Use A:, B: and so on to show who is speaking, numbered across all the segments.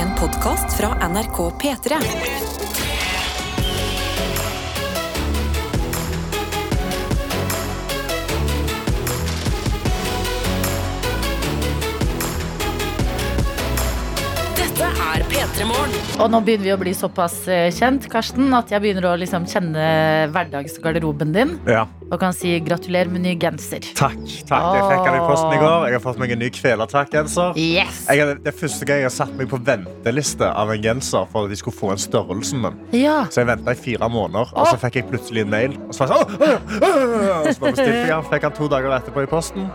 A: En podkast fra NRK P3. Dette er P3 Morgen.
B: Og nå begynner vi å bli såpass eh, kjent, Karsten, at jeg begynner å liksom kjenne hverdagsgarderoben din
C: Ja.
B: og kan si gratulerer med ny genser.
C: Takk. takk. Det fikk han i posten i går. Jeg har fått meg en ny kvelertakgenser.
B: Yes!
C: Jeg har- Det er første gang jeg har satt meg på venteliste av en genser for at de skulle få en størrelsen min.
B: Ja.
C: Så jeg venta i fire måneder, og så fikk jeg plutselig en mail. Og så var jeg sånn, «Åh, åh, åh», og så bare bestilte jeg den. Fikk han to dager etterpå i posten.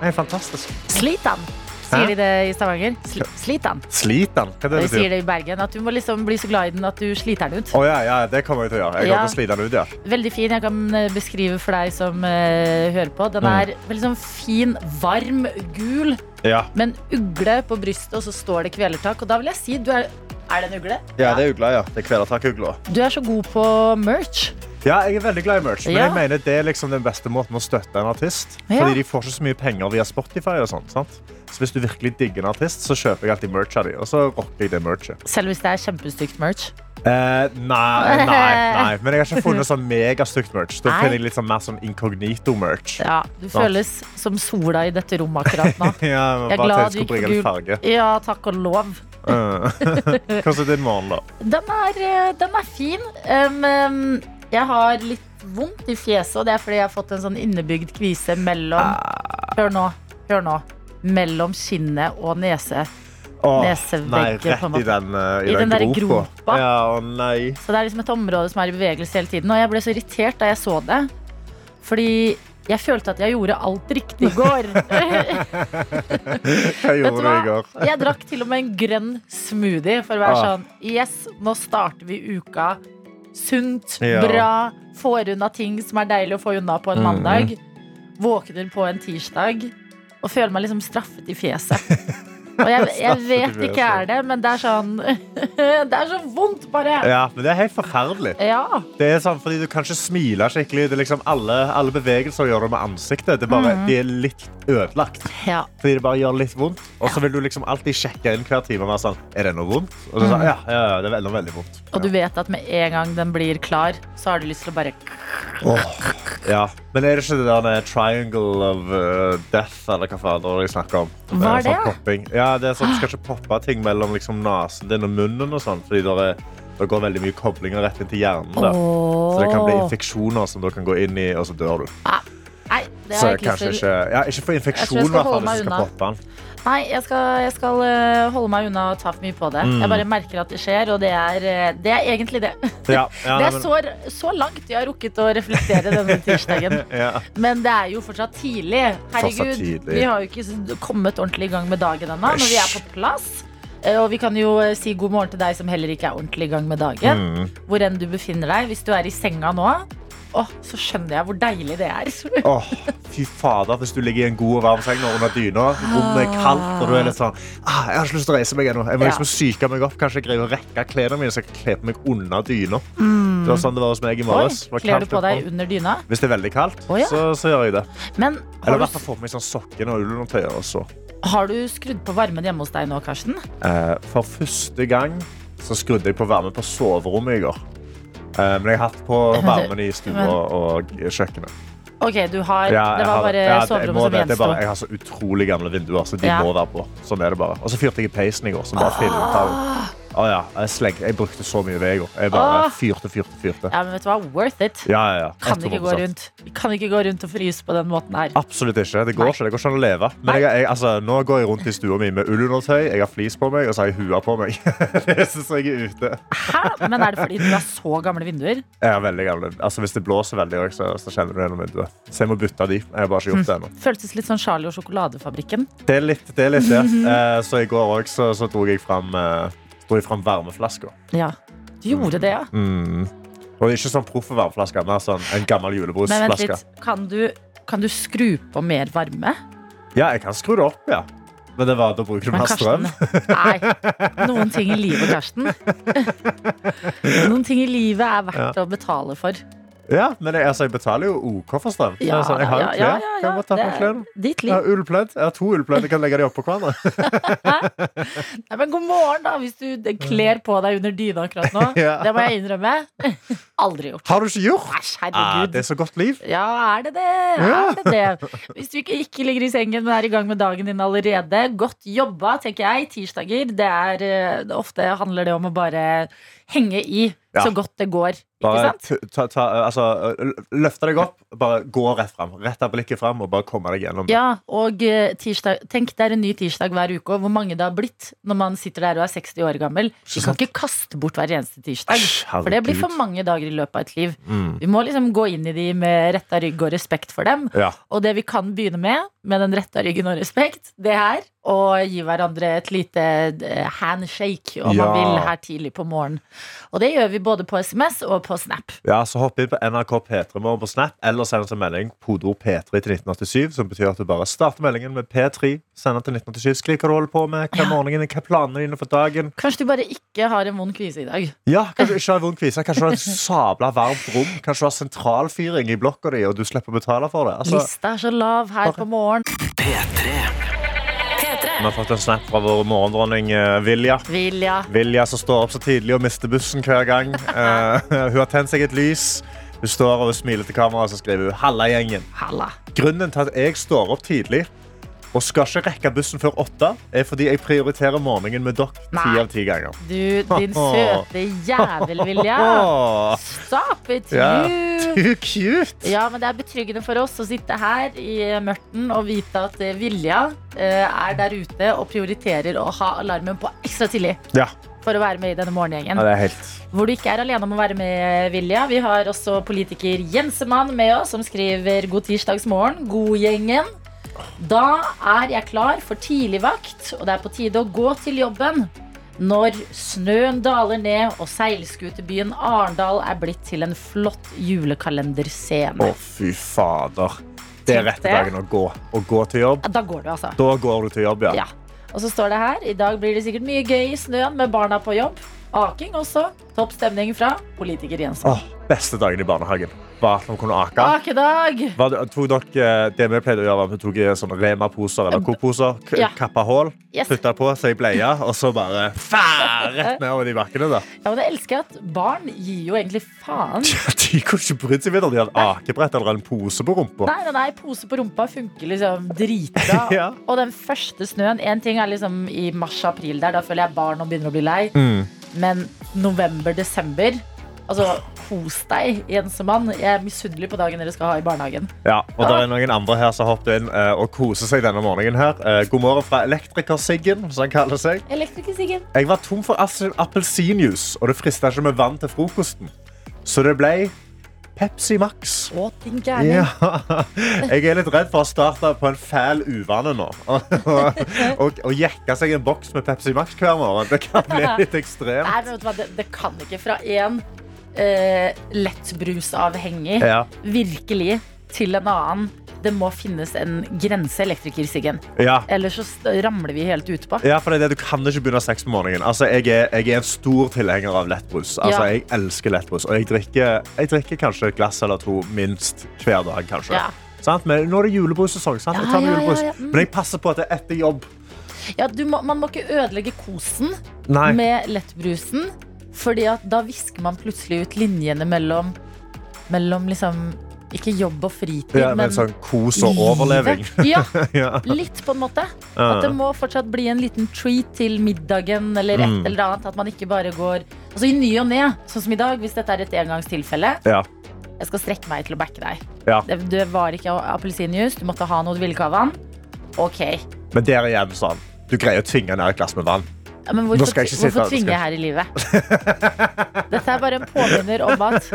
C: Det er fantastisk.
B: Slitan, sier de det i Stavanger. Sli- Slitan.
C: Sliter han? Hva er det
B: De
C: det
B: sier
C: betyr?
B: det i Bergen, at du må liksom bli så glad i den at du sliter den ut.
C: Å ja, ja, det kommer jeg til å gjøre. Jeg
B: Ja.
C: kommer til å slite den ut, ja.
B: Veldig fin, jeg kan eh, beskrive for deg som eh, hører på. Den
C: Mm.
B: er veldig sånn fin, varm, gul,
C: Ja,
B: med en ugle på brystet, og så står det kvelertak. Og da vil jeg si, du er, er det en ugle?
C: ja det er ugla, ja. Det er kvelertakugla.
B: Du er så god på merch.
C: Ja, jeg er veldig glad i merch, men
B: Ja.
C: jeg mener det er liksom den beste måten å støtte en artist.
B: Ja.
C: Fordi de får ikke så mye penger via Spotify og sånt, sant? Så hvis du virkelig digger en artist, så kjøper jeg alltid merch av de, og så rocker jeg det merchet.
B: Selv hvis det er kjempestygt merch.
C: Eh, nei, nei, nei, men jeg har ikke funnet sånn megastygt merch. Da
B: Nei.
C: finner jeg litt sånn mer sånn inkognito-merch.
B: Ja, du
C: Sant.
B: føles som sola i dette rommet akkurat nå.
C: Ja,
B: Jeg er
C: bare
B: glad
C: til jeg
B: du
C: skulle
B: ikke
C: bringe
B: gul.
C: en farge.
B: Ja, takk og lov.
C: Eh. Hvordan er din morgen, da?
B: Den er, eh, den er fin. Um, um, jeg har litt vondt i fjeset, og det er fordi jeg har fått en sånn innebygd kvise mellom Hør nå. Hør nå. Mellom kinnet og nese.
C: Åh,
B: Nesevegge,
C: nei,
B: på en
C: rett i
B: måte.
C: den, eh,
B: I
C: i
B: den
C: den,
B: der
C: gropa.
B: gropa.
C: Ja, å nei.
B: Så det er liksom et område som er i bevegelse hele tiden. Og jeg ble så irritert da jeg så det. Fordi jeg følte at jeg gjorde alt riktig i går.
C: Hva
B: Vet du
C: gjorde du i
B: hva?
C: går?
B: Jeg drakk til og med en grønn smoothie for å være
C: Ah.
B: sånn Yes, nå starter vi uka sunt,
C: Ja.
B: bra, får unna ting som er deilig å få unna på en
C: Mm.
B: mandag. Våkner på en tirsdag og føler meg liksom straffet i fjeset. Og jeg, jeg
C: Straffet i
B: vet ikke
C: fjeset.
B: er det, men det er sånn Det er så vondt, bare.
C: Ja, men det er helt forferdelig.
B: Ja.
C: Det er sånn, fordi Du kan ikke smile skikkelig. Det er liksom alle, alle bevegelser gjør du med ansiktet. Det er bare,
B: Mhm.
C: De er litt ødelagt.
B: ja.
C: Fordi det bare gjør litt vondt. Og så vil du liksom alltid sjekke inn hver time. og være Sånn, er det noe vondt? Og så sånn, ja, ja, ja, det er veldig, veldig vondt.
B: Mhm. Og du vet at med en gang den blir klar, så har du lyst til å bare
C: Ja. Men er det ikke det der med triangle of uh, death, eller hva faen det er de snakker om?
B: Hva er det?
C: Sånn popping. ja, det er sånn, Du skal ikke poppe ting mellom liksom, nesen din og munnen, og sånn, fordi det, er, det går veldig mye koblinger rett inn til hjernen. Der. Så det kan bli
B: Åh.
C: infeksjoner som da kan gå inn i, og så dør du.
B: Nei, det
C: Så
B: har jeg ikke lyst
C: kanskje
B: til.
C: ikke, ja, ikke få
B: tror
C: infeksjon
B: jeg skal
C: i hvert fall,
B: holde
C: hvis
B: meg
C: du skal
B: unna.
C: poppe den.
B: Nei, jeg skal, jeg skal eh, holde meg unna og ta for mye på det.
C: Mm.
B: Jeg bare merker at det skjer, og det er, eh, det er egentlig det.
C: Ja, ja,
B: det
C: nei,
B: er sånn-
C: men-
B: så, så langt jeg har rukket å reflektere denne tirsdagen.
C: ja.
B: Men det er jo fortsatt tidlig. Herregud,
C: Fortsatt tidlig.
B: vi har jo ikke s- kommet ordentlig i gang med dagen ennå, men vi er på plass. Eh, Og vi kan jo eh, si god morgen til deg som heller ikke er ordentlig i gang med dagen.
C: Mm.
B: Hvor enn du befinner deg. Hvis du er i senga nå, åh, så skjønner jeg hvor deilig det er.
C: Åh, fy fader, hvis du ligger i en god og varm seng nå under dyna, rommet er kaldt, og du er litt sånn ah, Jeg har ikke lyst til å reise meg ennå. Jeg må
B: Ja.
C: liksom syke meg opp. Kanskje jeg greier å rekke klærne mine, så jeg kler på meg under dyna. Det var sånn det var hos meg i
B: Mm. Oi,
C: morges. Det var
B: kler du
C: kaldt
B: på deg
C: utenfor.
B: under dyna?
C: Hvis det er veldig kaldt,
B: Å, ja.
C: så, så gjør jeg det.
B: Men
C: Eller
B: har
C: i hvert
B: du,
C: fall få på meg sånn sokkene og ullundertøy. og så.
B: har du skrudd på varmen hjemme hos deg nå, Karsten?
C: Eh, For første gang så skrudde jeg på varme på soverommet i går. Eh, Men jeg har hatt på varmen i stua
B: Men-
C: og kjøkkenet.
B: Ok, du har
C: Ja, jeg
B: Det var
C: har-
B: bare
C: ja, det- jeg
B: soverommet
C: må
B: som
C: det. Det er
B: gjensto.
C: bare- Jeg har så utrolig gamle vinduer, så de
B: Ja.
C: må være på. Sånn er det bare. Og så fyrte jeg i peisen i går. Som bare filmet
B: Ah.
C: av. Å ja, jeg, sleng, jeg brukte så mye ved i går. Jeg bare
B: Åh.
C: fyrte, fyrte, fyrte.
B: Ja, men vet du hva? Worth it.
C: Ja, ja, ja.
B: Ah. Kan ikke, gå
C: 100%.
B: rundt. kan ikke gå rundt og fryse på den måten her.
C: Absolutt ikke. Det går
B: Nei.
C: ikke, det går ikke an å leve. Men
B: Nei.
C: jeg, jeg, altså, nå går jeg rundt i stua mi med ullundertøy, jeg har flis på meg, og så har jeg hua på meg. det syns jeg er ute.
B: Hæ? Men er det fordi du har så gamle vinduer?
C: Jeg er veldig gammel. Altså, hvis det blåser veldig, også, så, så kjenner du det gjennom vinduet. Så jeg må bytte av de. Jeg har bare ikke gjort det ennå.
B: Føltes litt sånn Charlie og sjokoladefabrikken.
C: Det er litt det. Er litt, det. Eh, så i går òg så, så dro jeg fram, eh, dro jeg fram varmeflaska.
B: Ja. Du gjorde det, ja.
C: Mm. Og ikke sånn proffe varmeflaske, men sånn en gammel
B: Men vent
C: julebrusflaske.
B: litt. Kan du, kan du skru på mer varme?
C: Ja, jeg kan skru det opp, ja. Men det var, da bruker du
B: Men
C: mer strøm.
B: Karsten- Nei. Noen ting i livet, Karsten. Noen ting i livet er verdt å betale for.
C: Ja, men jeg, altså, jeg betaler jo OK for strøm. Så
B: Ja,
C: sånn, jeg har jo
B: ja,
C: klær.
B: ja, ja,
C: Kan jeg bare ta
B: det
C: på
B: er
C: klærne?
B: Ditt
C: Jeg
B: liv.
C: har ullpledd. Jeg har to ullpledd. Jeg kan legge de oppå hverandre.
B: Nei, men god morgen, da, hvis du kler på deg under dyna akkurat nå.
C: Mm. Ja.
B: Det må jeg innrømme. Aldri gjort.
C: Har du ikke gjort?
B: Æsj,
C: Ah,
B: herregud.
C: det er så godt liv.
B: Ja, er det det? Er det det? Hvis du ikke, ikke ligger i sengen, men er i gang med dagen din allerede, godt jobba, tenker jeg. Tirsdager. Det er, eh, ofte handler det om å bare henge i
C: Ja.
B: så godt det går. Ikke
C: Bare
B: sant?
C: t- ta, ta, altså, l- løfte deg opp, bare gå rett fram. Rett av blikket fram og bare komme deg gjennom. det.
B: Ja, og eh, tirsdag, tenk det er en ny tirsdag hver uke, og hvor mange det har blitt når man sitter der og er 60 år gammel. Vi kan
C: sant?
B: ikke kaste bort hver eneste tirsdag,
C: Æsj,
B: for det blir
C: herregud.
B: for mange dager i løpet av et liv.
C: Mm.
B: Vi må liksom gå inn i de med retta rygg og respekt for dem.
C: Ja.
B: Og det vi kan begynne med, med den retta ryggen og respekt, det er å gi hverandre et lite eh, handshake, om
C: Ja.
B: man vil, her tidlig på morgenen. Og det gjør vi både på SMS og på Snap.
C: ja, så hopp inn på NRK P3 Morgen på Snap, eller send oss en melding kodord P3 til 1987, som betyr at du bare starter meldingen med P3, send den til 1987, skriv hva du holder på med, hva er morgenen, hva er planene dine for dagen.
B: Kanskje du bare ikke har en vond kvise i dag.
C: Ja, kanskje du ikke har vond kvise, kanskje du har et sabla varmt rom, kanskje du har sentralfyring i blokka di, og du slipper å betale for det. Altså,
B: Lista er så lav her på morgenen.
A: P3.
C: vi har fått en snap fra vår morgendronning eh, Vilja.
B: Vilja.
C: Vilja som står opp så tidlig og mister bussen hver gang. Eh, hun har tent seg et lys. Hun står og smiler til kameraet og så skriver hun, Halla gjengen.
B: Halla.
C: Grunnen til at jeg står opp tidlig og skal ikke rekke bussen før åtte, er fordi jeg prioriterer morgenen med dere ti
B: Nei.
C: av ti ganger.
B: Du, din søte jævel, Vilja.
C: Åh,
B: Stop it,
C: Ja.
B: you.
C: too cute!
B: Ja, men det er betryggende for oss å sitte her i mørten og vite at eh, Vilja eh, er der ute og prioriterer å ha alarmen på ekstra tidlig
C: Ja,
B: for å være med i denne
C: ja,
B: morgengjengen.
C: det er helt
B: Hvor du ikke er alene om å være med, Vilja. Vi har også politiker Jensemann med oss, som skriver god tirsdagsmorgen, god gjengen. Da er jeg klar for tidligvakt, og det er på tide å gå til jobben. Når snøen daler ned og seilskutebyen Arendal er blitt til en flott julekalenderscene.
C: Å, fy fader. Det er
B: Tenk
C: rette
B: det.
C: dagen å gå. Å gå til jobb.
B: Ja, Da går du, altså.
C: Da går du til jobb, ja.
B: Ja. Og så står det her i dag blir det sikkert mye gøy i snøen med barna på jobb. Aking også. Topp stemning fra politiker Jensen.
C: Åh, beste dagen i barnehagen var at man kunne ake.
B: Akedag!
C: Var det, tok dere, eh, det vi pleide å gjøre, var at vi tok i sånne Rema-poser eller Coop-poser, k-
B: Ja.
C: kappa hull,
B: Yes.
C: putta på seg bleia, og så bare fæ, rett nedover de bakkene. Da.
B: Ja, men jeg elsker at barn gir jo egentlig faen.
C: De kunne ikke brydd seg videre. De hadde akebrett eller en pose på rumpa.
B: Nei, nei, nei, pose på rumpa funker liksom dritbra.
C: Ja.
B: Og den første snøen En ting er liksom i mars-april der, da føler jeg barn og begynner å bli lei.
C: Mm.
B: Men november-desember Altså, kos deg, Jensemann. Jeg er misunnelig på dagen dere skal ha i barnehagen.
C: Ja, og det er noen andre her som har hoppet inn eh, og koser seg denne morgenen. her. Eh, God morgen fra Elektriker-Siggen, som han kaller seg.
B: Elektriker Siggen.
C: Jeg var tom for as- appelsinjuice, og det frista ikke med vann til frokosten. Så det ble Pepsi Max.
B: Å, din gærning.
C: Ja. Jeg er litt redd for å starte på en fæl uvane nå. Og, og, og jekke seg en boks med Pepsi Max hver morgen. Det kan bli litt ekstremt.
B: Nei, men vet du hva, det, det kan ikke fra en eh, lettbrusavhengig
C: Ja.
B: virkelig til en annen. Det må finnes en grense, elektriker Siggen.
C: Ja.
B: Ellers så st- ramler vi helt utpå.
C: Ja, for det er det, Du kan ikke begynne seks på morgenen. Altså, jeg, er, jeg er en stor tilhenger av lettbrus. Altså,
B: Ja.
C: Jeg elsker lettbrus. Og jeg drikker, jeg drikker kanskje et glass eller to minst hver dag. kanskje.
B: Ja.
C: Sant? Men nå er det julebrussesong. sant? Jeg tar
B: Ja, ja,
C: med
B: ja,
C: julebrus.
B: ja. Mm.
C: Men jeg passer på at det er etter jobb.
B: Ja, du må, man må ikke ødelegge kosen
C: Nei.
B: med lettbrusen, fordi at da visker man plutselig ut linjene mellom, mellom liksom ikke jobb og fritid,
C: ja, men
B: men,
C: sånn kos og overleving.
B: livet. Ja,
C: ja.
B: litt på en måte.
C: Ja.
B: At det må fortsatt bli en liten treat til middagen eller et
C: Mm.
B: eller annet. At man ikke bare går Altså i ny og ne, sånn som i dag, hvis dette er et engangstilfelle.
C: Ja.
B: Jeg skal strekke meg til å backe deg.
C: Ja.
B: Det, det var ikke appelsinjuice, du måtte ha noe du ville ikke ha vann. Ok.
C: Men der igjen, sånn. Du greier å tvinge ned et glass med vann.
B: Ja, Men
C: Nå
B: hvorfor,
C: skal jeg ikke sitte her,
B: hvorfor
C: nå skal
B: tvinge
C: jeg-
B: jeg her i livet? Dette er bare en påminner om at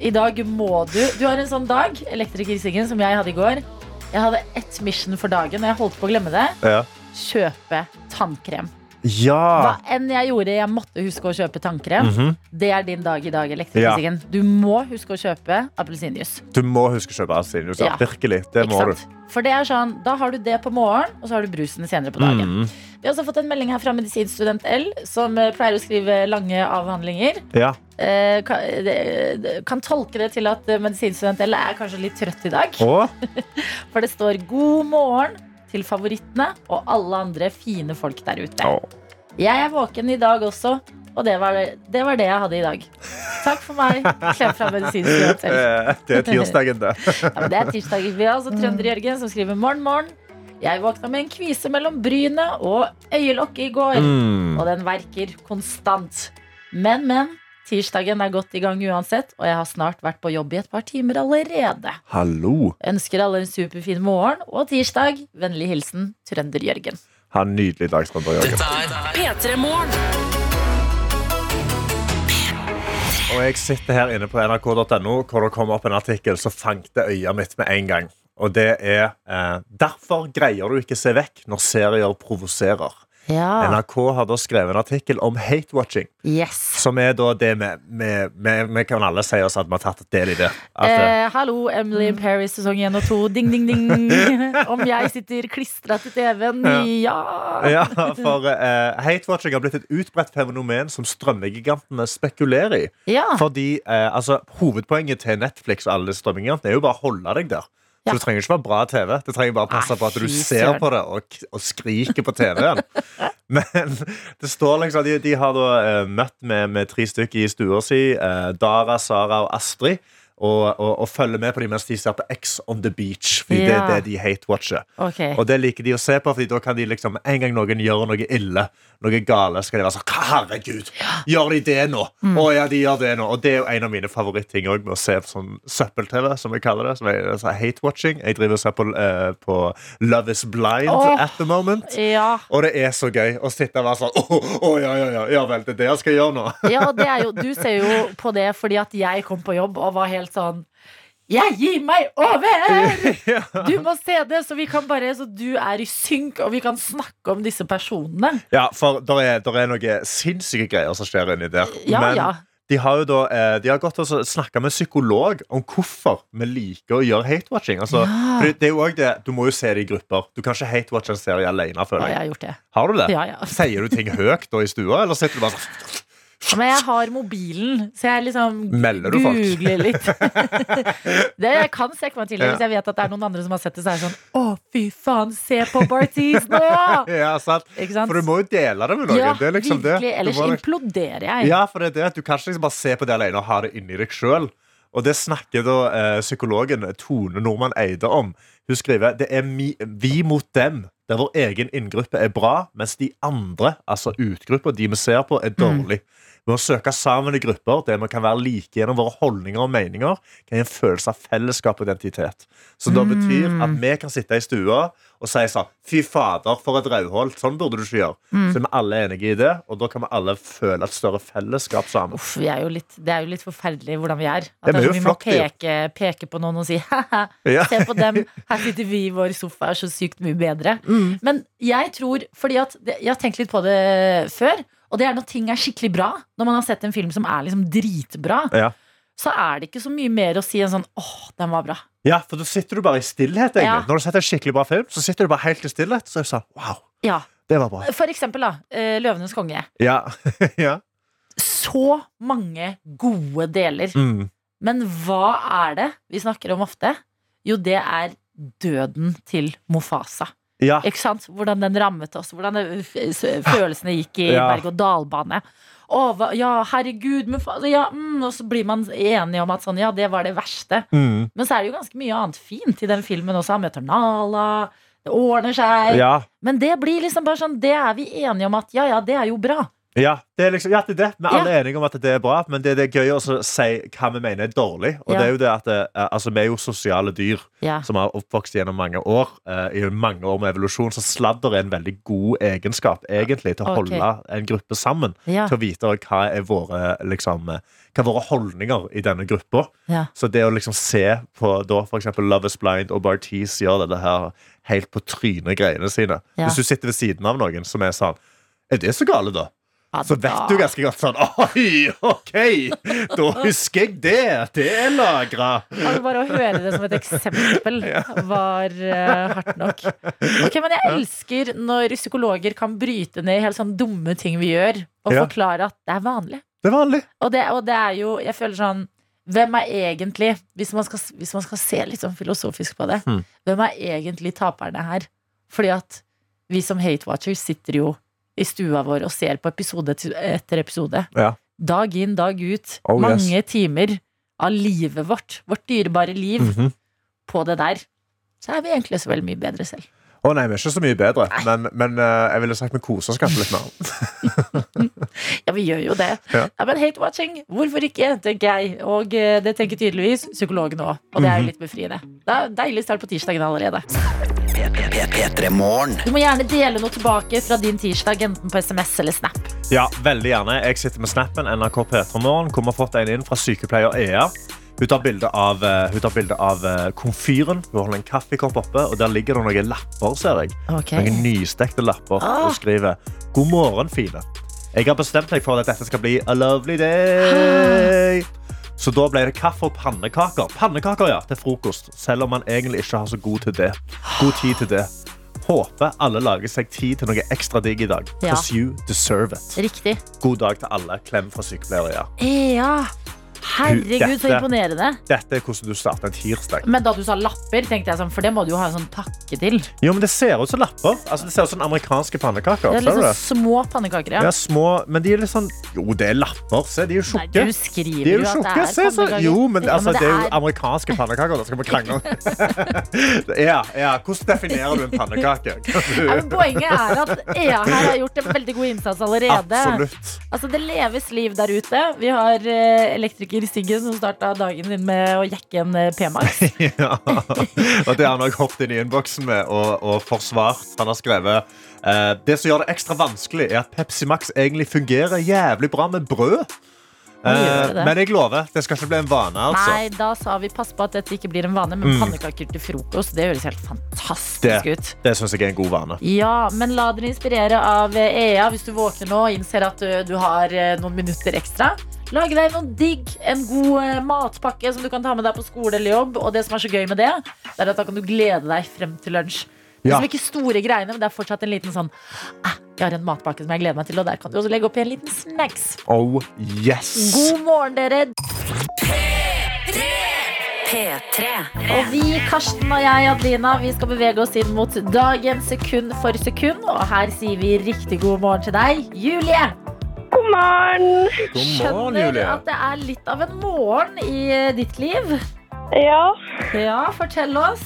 B: i dag må du Du har en sånn dag, elektriker Siggen, som jeg hadde i går. Jeg hadde ett mission for dagen, og jeg holdt på å glemme det.
C: Ja.
B: Kjøpe tannkrem.
C: Ja!
B: Hva enn jeg gjorde, jeg måtte huske å kjøpe tannkrem.
C: Mhm.
B: Det er din dag i dag, elektrikeren. Du må huske å kjøpe appelsinjuice.
C: Du må huske å kjøpe appelsinjuice. Ja.
B: Ja.
C: Virkelig. Det
B: Ikke
C: må du.
B: sant? For det er sånn, Da har du det på morgenen, og så har du brusen senere på dagen.
C: Mm.
B: Vi har også fått en melding her fra medisinstudent L, som eh, pleier å skrive lange avhandlinger.
C: Ja.
B: Eh, kan, det- det- kan tolke det til at eh, medisinstudent L er kanskje litt trøtt i dag.
C: Og
B: For det står 'God morgen' til favorittene og alle andre fine folk der ute.
C: Åh.
B: Jeg er våken i dag også, og det var det, det, var det jeg hadde i dag. Takk for meg. Klem fra medisinstudent L.
C: eh, Det er tirsdagen, det.
B: Ja, men det er tirsdag. Vi har altså Trønder-Jørgen som skriver 'morgen, morgen'. Jeg våkna med en kvise mellom brynet og øyelokket i går.
C: Mm.
B: Og den verker konstant. Men, men. Tirsdagen er godt i gang uansett, og jeg har snart vært på jobb i et par timer allerede.
C: Hallo.
B: Ønsker alle en superfin morgen og tirsdag. Vennlig hilsen Trønder-Jørgen.
C: Ha en nydelig dag, Strømberg Jørgen.
A: P3 Morgen.
C: Og jeg sitter her inne på nrk.no, hvor det kom opp en artikkel som fangte øyet mitt med en gang. Og det er eh, Derfor greier du ikke se vekk når serier provoserer.
B: Ja.
C: NRK har da skrevet en artikkel om hate-watching,
B: Yes.
C: som er da det vi- vi- vi vi kan alle si oss at vi har tatt del i det. At, eh,
B: Eh, hallo, Emily in Paris sesong 1 og 2. Ding, ding, ding. Om jeg sitter klistra til TV-en? Ja.
C: Ja, for eh, hate-watching har blitt et utbredt fenomen som strømmegigantene spekulerer i.
B: ja.
C: Fordi eh, altså, Hovedpoenget til Netflix og alle strømmingene er jo bare å holde deg der.
B: Ja.
C: Så Det trenger ikke være bra TV. Det trenger bare passe
B: Nei,
C: på at du
B: fy
C: ser
B: søren.
C: på det og, k- og skriker på TV-en. Men det står liksom de, de har da eh, møtt med, med tre stykker i stua si. Eh, Dara, Sara og Astrid. Og, og, og følger med på dem mens de ser på X on the beach. Fordi det
B: Ja.
C: er det de hate-watcher.
B: Ok.
C: Og det liker de å se på, Fordi da kan de liksom en gang noen gjør noe ille, noe gale, skal de være sånn «Hva, Herregud, gjør de det nå?
B: Mm.
C: Å ja, de gjør det nå. Og det er jo en av mine favorittting også, med å se på sånn søppel-TV, som jeg kaller det. Som er altså, hate-watching. Jeg driver og ser på, eh, på Love Is Blind
B: Åh.
C: at the moment.
B: Ja.
C: Og det er så gøy å sitte og være sånn Å ja, ja, ja, ja vel, det er det jeg skal gjøre nå.
B: ja, og det er jo, du ser jo på det fordi at jeg kom på jobb og var helt sånn Jeg gir meg over! Du må se det, så vi kan bare Så du er i synk, og vi kan snakke om disse personene.
C: Ja, for der er, der er noen sinnssyke greier som skjer inni der.
B: Ja,
C: Men
B: ja.
C: de har jo da eh, De har gått og snakka med psykolog om hvorfor vi liker å gjøre hate-watching. Altså,
B: Ja.
C: fordi det er jo også det, Du må jo se det i grupper. Du kan ikke hate-watche en serie alene.
B: Ja,
C: Føler
B: jeg
C: jeg.
B: har gjort det.
C: Har du det?
B: Ja, ja.
C: Sier du ting høyt da i stua, eller sitter du bare sånn
B: Men jeg har mobilen, så jeg liksom
C: Melder du folk?
B: googler litt. det jeg kan strekke meg til det
C: Ja.
B: hvis jeg vet at det er noen andre som har sett det, så er det sånn Å, fy faen, se på Bartiz nå!
C: Ja, sant.
B: Ikke sant?
C: For du må jo dele det med noen.
B: ja,
C: det er liksom
B: virkelig.
C: det. Du
B: Ellers
C: må liksom-
B: imploderer jeg.
C: Ja, for det er det at du kan ikke liksom bare se på det alene og ha det inni deg sjøl. Og det snakker da eh, psykologen Tone Normann Eide om. Hun skriver det er mi, vi mot dem, der vår egen inngruppe er bra, mens de andre, altså utgrupper, de vi ser på, er dårlig. Ved å søke sammen i grupper der vi kan være like gjennom våre holdninger og meninger, kan gi en følelse av fellesskap og identitet. Som da betyr
B: Mm.
C: at vi kan sitte i stua og si sånn Fy fader, for et rauhold. Sånn burde du ikke gjøre.
B: Mm.
C: Så er vi alle enige i det, og da kan vi alle føle et større fellesskap sammen.
B: Uff, vi er jo litt, det er jo litt forferdelig hvordan vi er.
C: Ja,
B: At det er
C: men vi er
B: sånn, vi
C: jo
B: må
C: flott,
B: peke, peke på noen og si «Haha,
C: Ja.
B: se på dem, her sitter vi i vår sofa, er så sykt mye bedre. Men jeg tror, fordi at det- jeg har tenkt litt på det før, og det er når ting er skikkelig bra, når man har sett en film som er liksom dritbra,
C: Ja.
B: så er det ikke så mye mer å si enn sånn åh, den var bra.
C: Ja, for da sitter du bare i stillhet. egentlig.
B: Ja.
C: Når du setter en skikkelig bra film, så sitter du bare helt i stillhet. Så er du sånn Wow,
B: Ja.
C: det var bra.
B: For eksempel da, eh, Løvenes konge.
C: Ja. ja.
B: Så mange gode deler.
C: Mm.
B: Men hva er det vi snakker om ofte? Jo, det er døden til Mofasa.
C: ja.
B: Ikke sant? Hvordan den rammet oss, hvordan det, f- s- følelsene gikk i
C: Ja.
B: berg-og-dal-bane. Å, hva- ja, herregud, Mufasa ja, mm, Og så blir man enige om at sånn, ja, det var det verste.
C: Mm.
B: Men så er det jo ganske mye annet fint i den filmen også. Han møter Nala, det ordner seg.
C: ja.
B: Men det blir liksom bare sånn, det er vi enige om at ja, ja, det er jo bra.
C: Ja, det er liksom, ja, det er det. Vi er
B: Ja.
C: alle enige om at det er bra, men det, det er gøy å så si hva vi mener er dårlig. Og
B: Ja.
C: det er jo det at eh, altså, Vi er jo sosiale dyr
B: Ja.
C: som har oppvokst gjennom mange år. eh, I mange år med evolusjon Så sladder er en veldig god egenskap egentlig til å
B: Ok.
C: holde en gruppe sammen.
B: Ja.
C: Til å vite hva er våre, liksom, eh, hva er våre holdninger i denne gruppa.
B: ja.
C: Så det å liksom se på da for eksempel Love is Blind og Bartiz gjør dette her helt på trynet greiene sine.
B: Ja.
C: Hvis du sitter ved siden av noen som er sånn Er det så gale, da? Så vet du ganske godt sånn Oi, OK! Da husker jeg det! Det er lagra!
B: Altså bare å høre det som et eksempel var eh, hardt nok. Ok, Men jeg elsker når psykologer kan bryte ned helt sånn dumme ting vi gjør, og
C: Ja.
B: forklare at det er vanlig.
C: Det er vanlig.
B: Og det, og det er jo Jeg føler sånn hvem er egentlig, hvis man skal, hvis man skal se litt sånn filosofisk på det,
C: Mm.
B: hvem er egentlig taperne her? Fordi at vi som hate-watchers sitter jo i stua vår og ser på episode til- etter episode.
C: Ja.
B: Dag inn, dag ut.
C: Oh, yes.
B: mange timer av livet vårt, vårt dyrebare liv,
C: Mhm.
B: på det der. Så er vi egentlig så veldig mye bedre selv.
C: Å nei, vi er ikke så mye bedre, men, men eh, jeg ville sagt vi koser oss kanskje litt mer.
B: Ja, vi gjør jo det.
C: Ja.
B: Ja, men hate-watching, hvorfor ikke, tenker jeg. Og eh, det tenker tydeligvis psykologen òg. Og det er jo litt befriende. Det er deilig start på tirsdagen allerede. Du må gjerne dele noe tilbake fra din tirsdag, enten på SMS eller Snap.
C: Ja, veldig gjerne. Jeg sitter med snappen NRK P3morgen. Hvor vi har fått en inn fra sykepleier Ea. Hun tar bilde av, eh, hun tar bilde av eh, komfyren. Hun holder en kaffekopp oppe, og der ligger det noen lapper, ser jeg.
B: Ok.
C: Noen nystekte lapper.
B: Ah.
C: Hun skriver God morgen, fine. Jeg har bestemt meg for at dette skal bli a lovely day.
B: Ah.
C: Så da ble det kaffe og pannekaker. Pannekaker, ja, til frokost. Selv om man egentlig ikke har så god, til det. god tid til det. Håper alle lager seg tid til noe ekstra digg i dag.
B: Ja.
C: Because you deserve it.
B: Riktig.
C: God dag til alle. Klem fra sykepleiere. Ja.
B: Ja. Herregud, så
C: Dette-
B: imponerende.
C: Dette er hvordan du starter en tirsdag.
B: Men da du sa lapper, tenkte jeg sånn, for det må du jo ha en sånn takke til.
C: Jo, men Det ser ut som lapper. Altså, det ser ut som amerikanske pannekaker.
B: Det er
C: Ser du
B: liksom
C: det?
B: små pannekaker, ja.
C: Ja, små, men de er litt sånn Jo, det er lapper. Se, de er jo
B: Nei, du
C: tjukke.
B: skriver
C: De er jo
B: jo at
C: tjukke.
B: det
C: Se,
B: er
C: så, jo, men
B: Ja,
C: altså, det er jo
B: er-
C: amerikanske pannekaker. Da skal vi krangle om ja, ja. Hvordan definerer du en pannekake?
B: Ja, men poenget er at EA her har gjort en veldig god innsats allerede.
C: Absolutt.
B: Altså, det leves liv der ute. Vi har eh, elektriker Siggen som starta dagen din med å jekke en eh, P-Max.
C: Ja. Og det har han også hoppet inn i innboksen med og, og forsvart. Han har skrevet eh, Det som gjør det ekstra vanskelig, er at Pepsi Max egentlig fungerer jævlig bra med brød.
B: gjør
C: Eh,
B: det.
C: men jeg lover, det skal ikke bli en vane. altså Mm.
B: Nei, da sa vi pass på at dette ikke blir en vane, men pannekaker til frokost, det høres helt fantastisk
C: Det,
B: ut.
C: det syns jeg er en god vane.
B: Ja, men la dere inspirere av eh, EA hvis du våkner nå og innser at eh, du har eh, noen minutter ekstra. Lage deg noen digg, en god eh, matpakke som du kan ta med deg på skole eller jobb. Og det som er så gøy med det, det er at da kan du glede deg frem til lunsj. Det
C: Ja.
B: som ikke store greiene, men det er fortsatt en liten sånn ah, Jeg har en matpakke som jeg gleder meg til, og der kan du også legge oppi en liten snacks.
C: Oh yes!
B: God morgen, dere.
A: P3.
B: Og vi, Karsten og jeg, Adelina, vi skal bevege oss inn mot dagen sekund for sekund. Og her sier vi riktig god morgen til deg, Julie.
D: God morgen!
C: God morgen,
B: Skjønner
C: Julie.
B: at det er litt av en morgen i eh, ditt liv.
D: Ja,
B: Ja, fortell oss.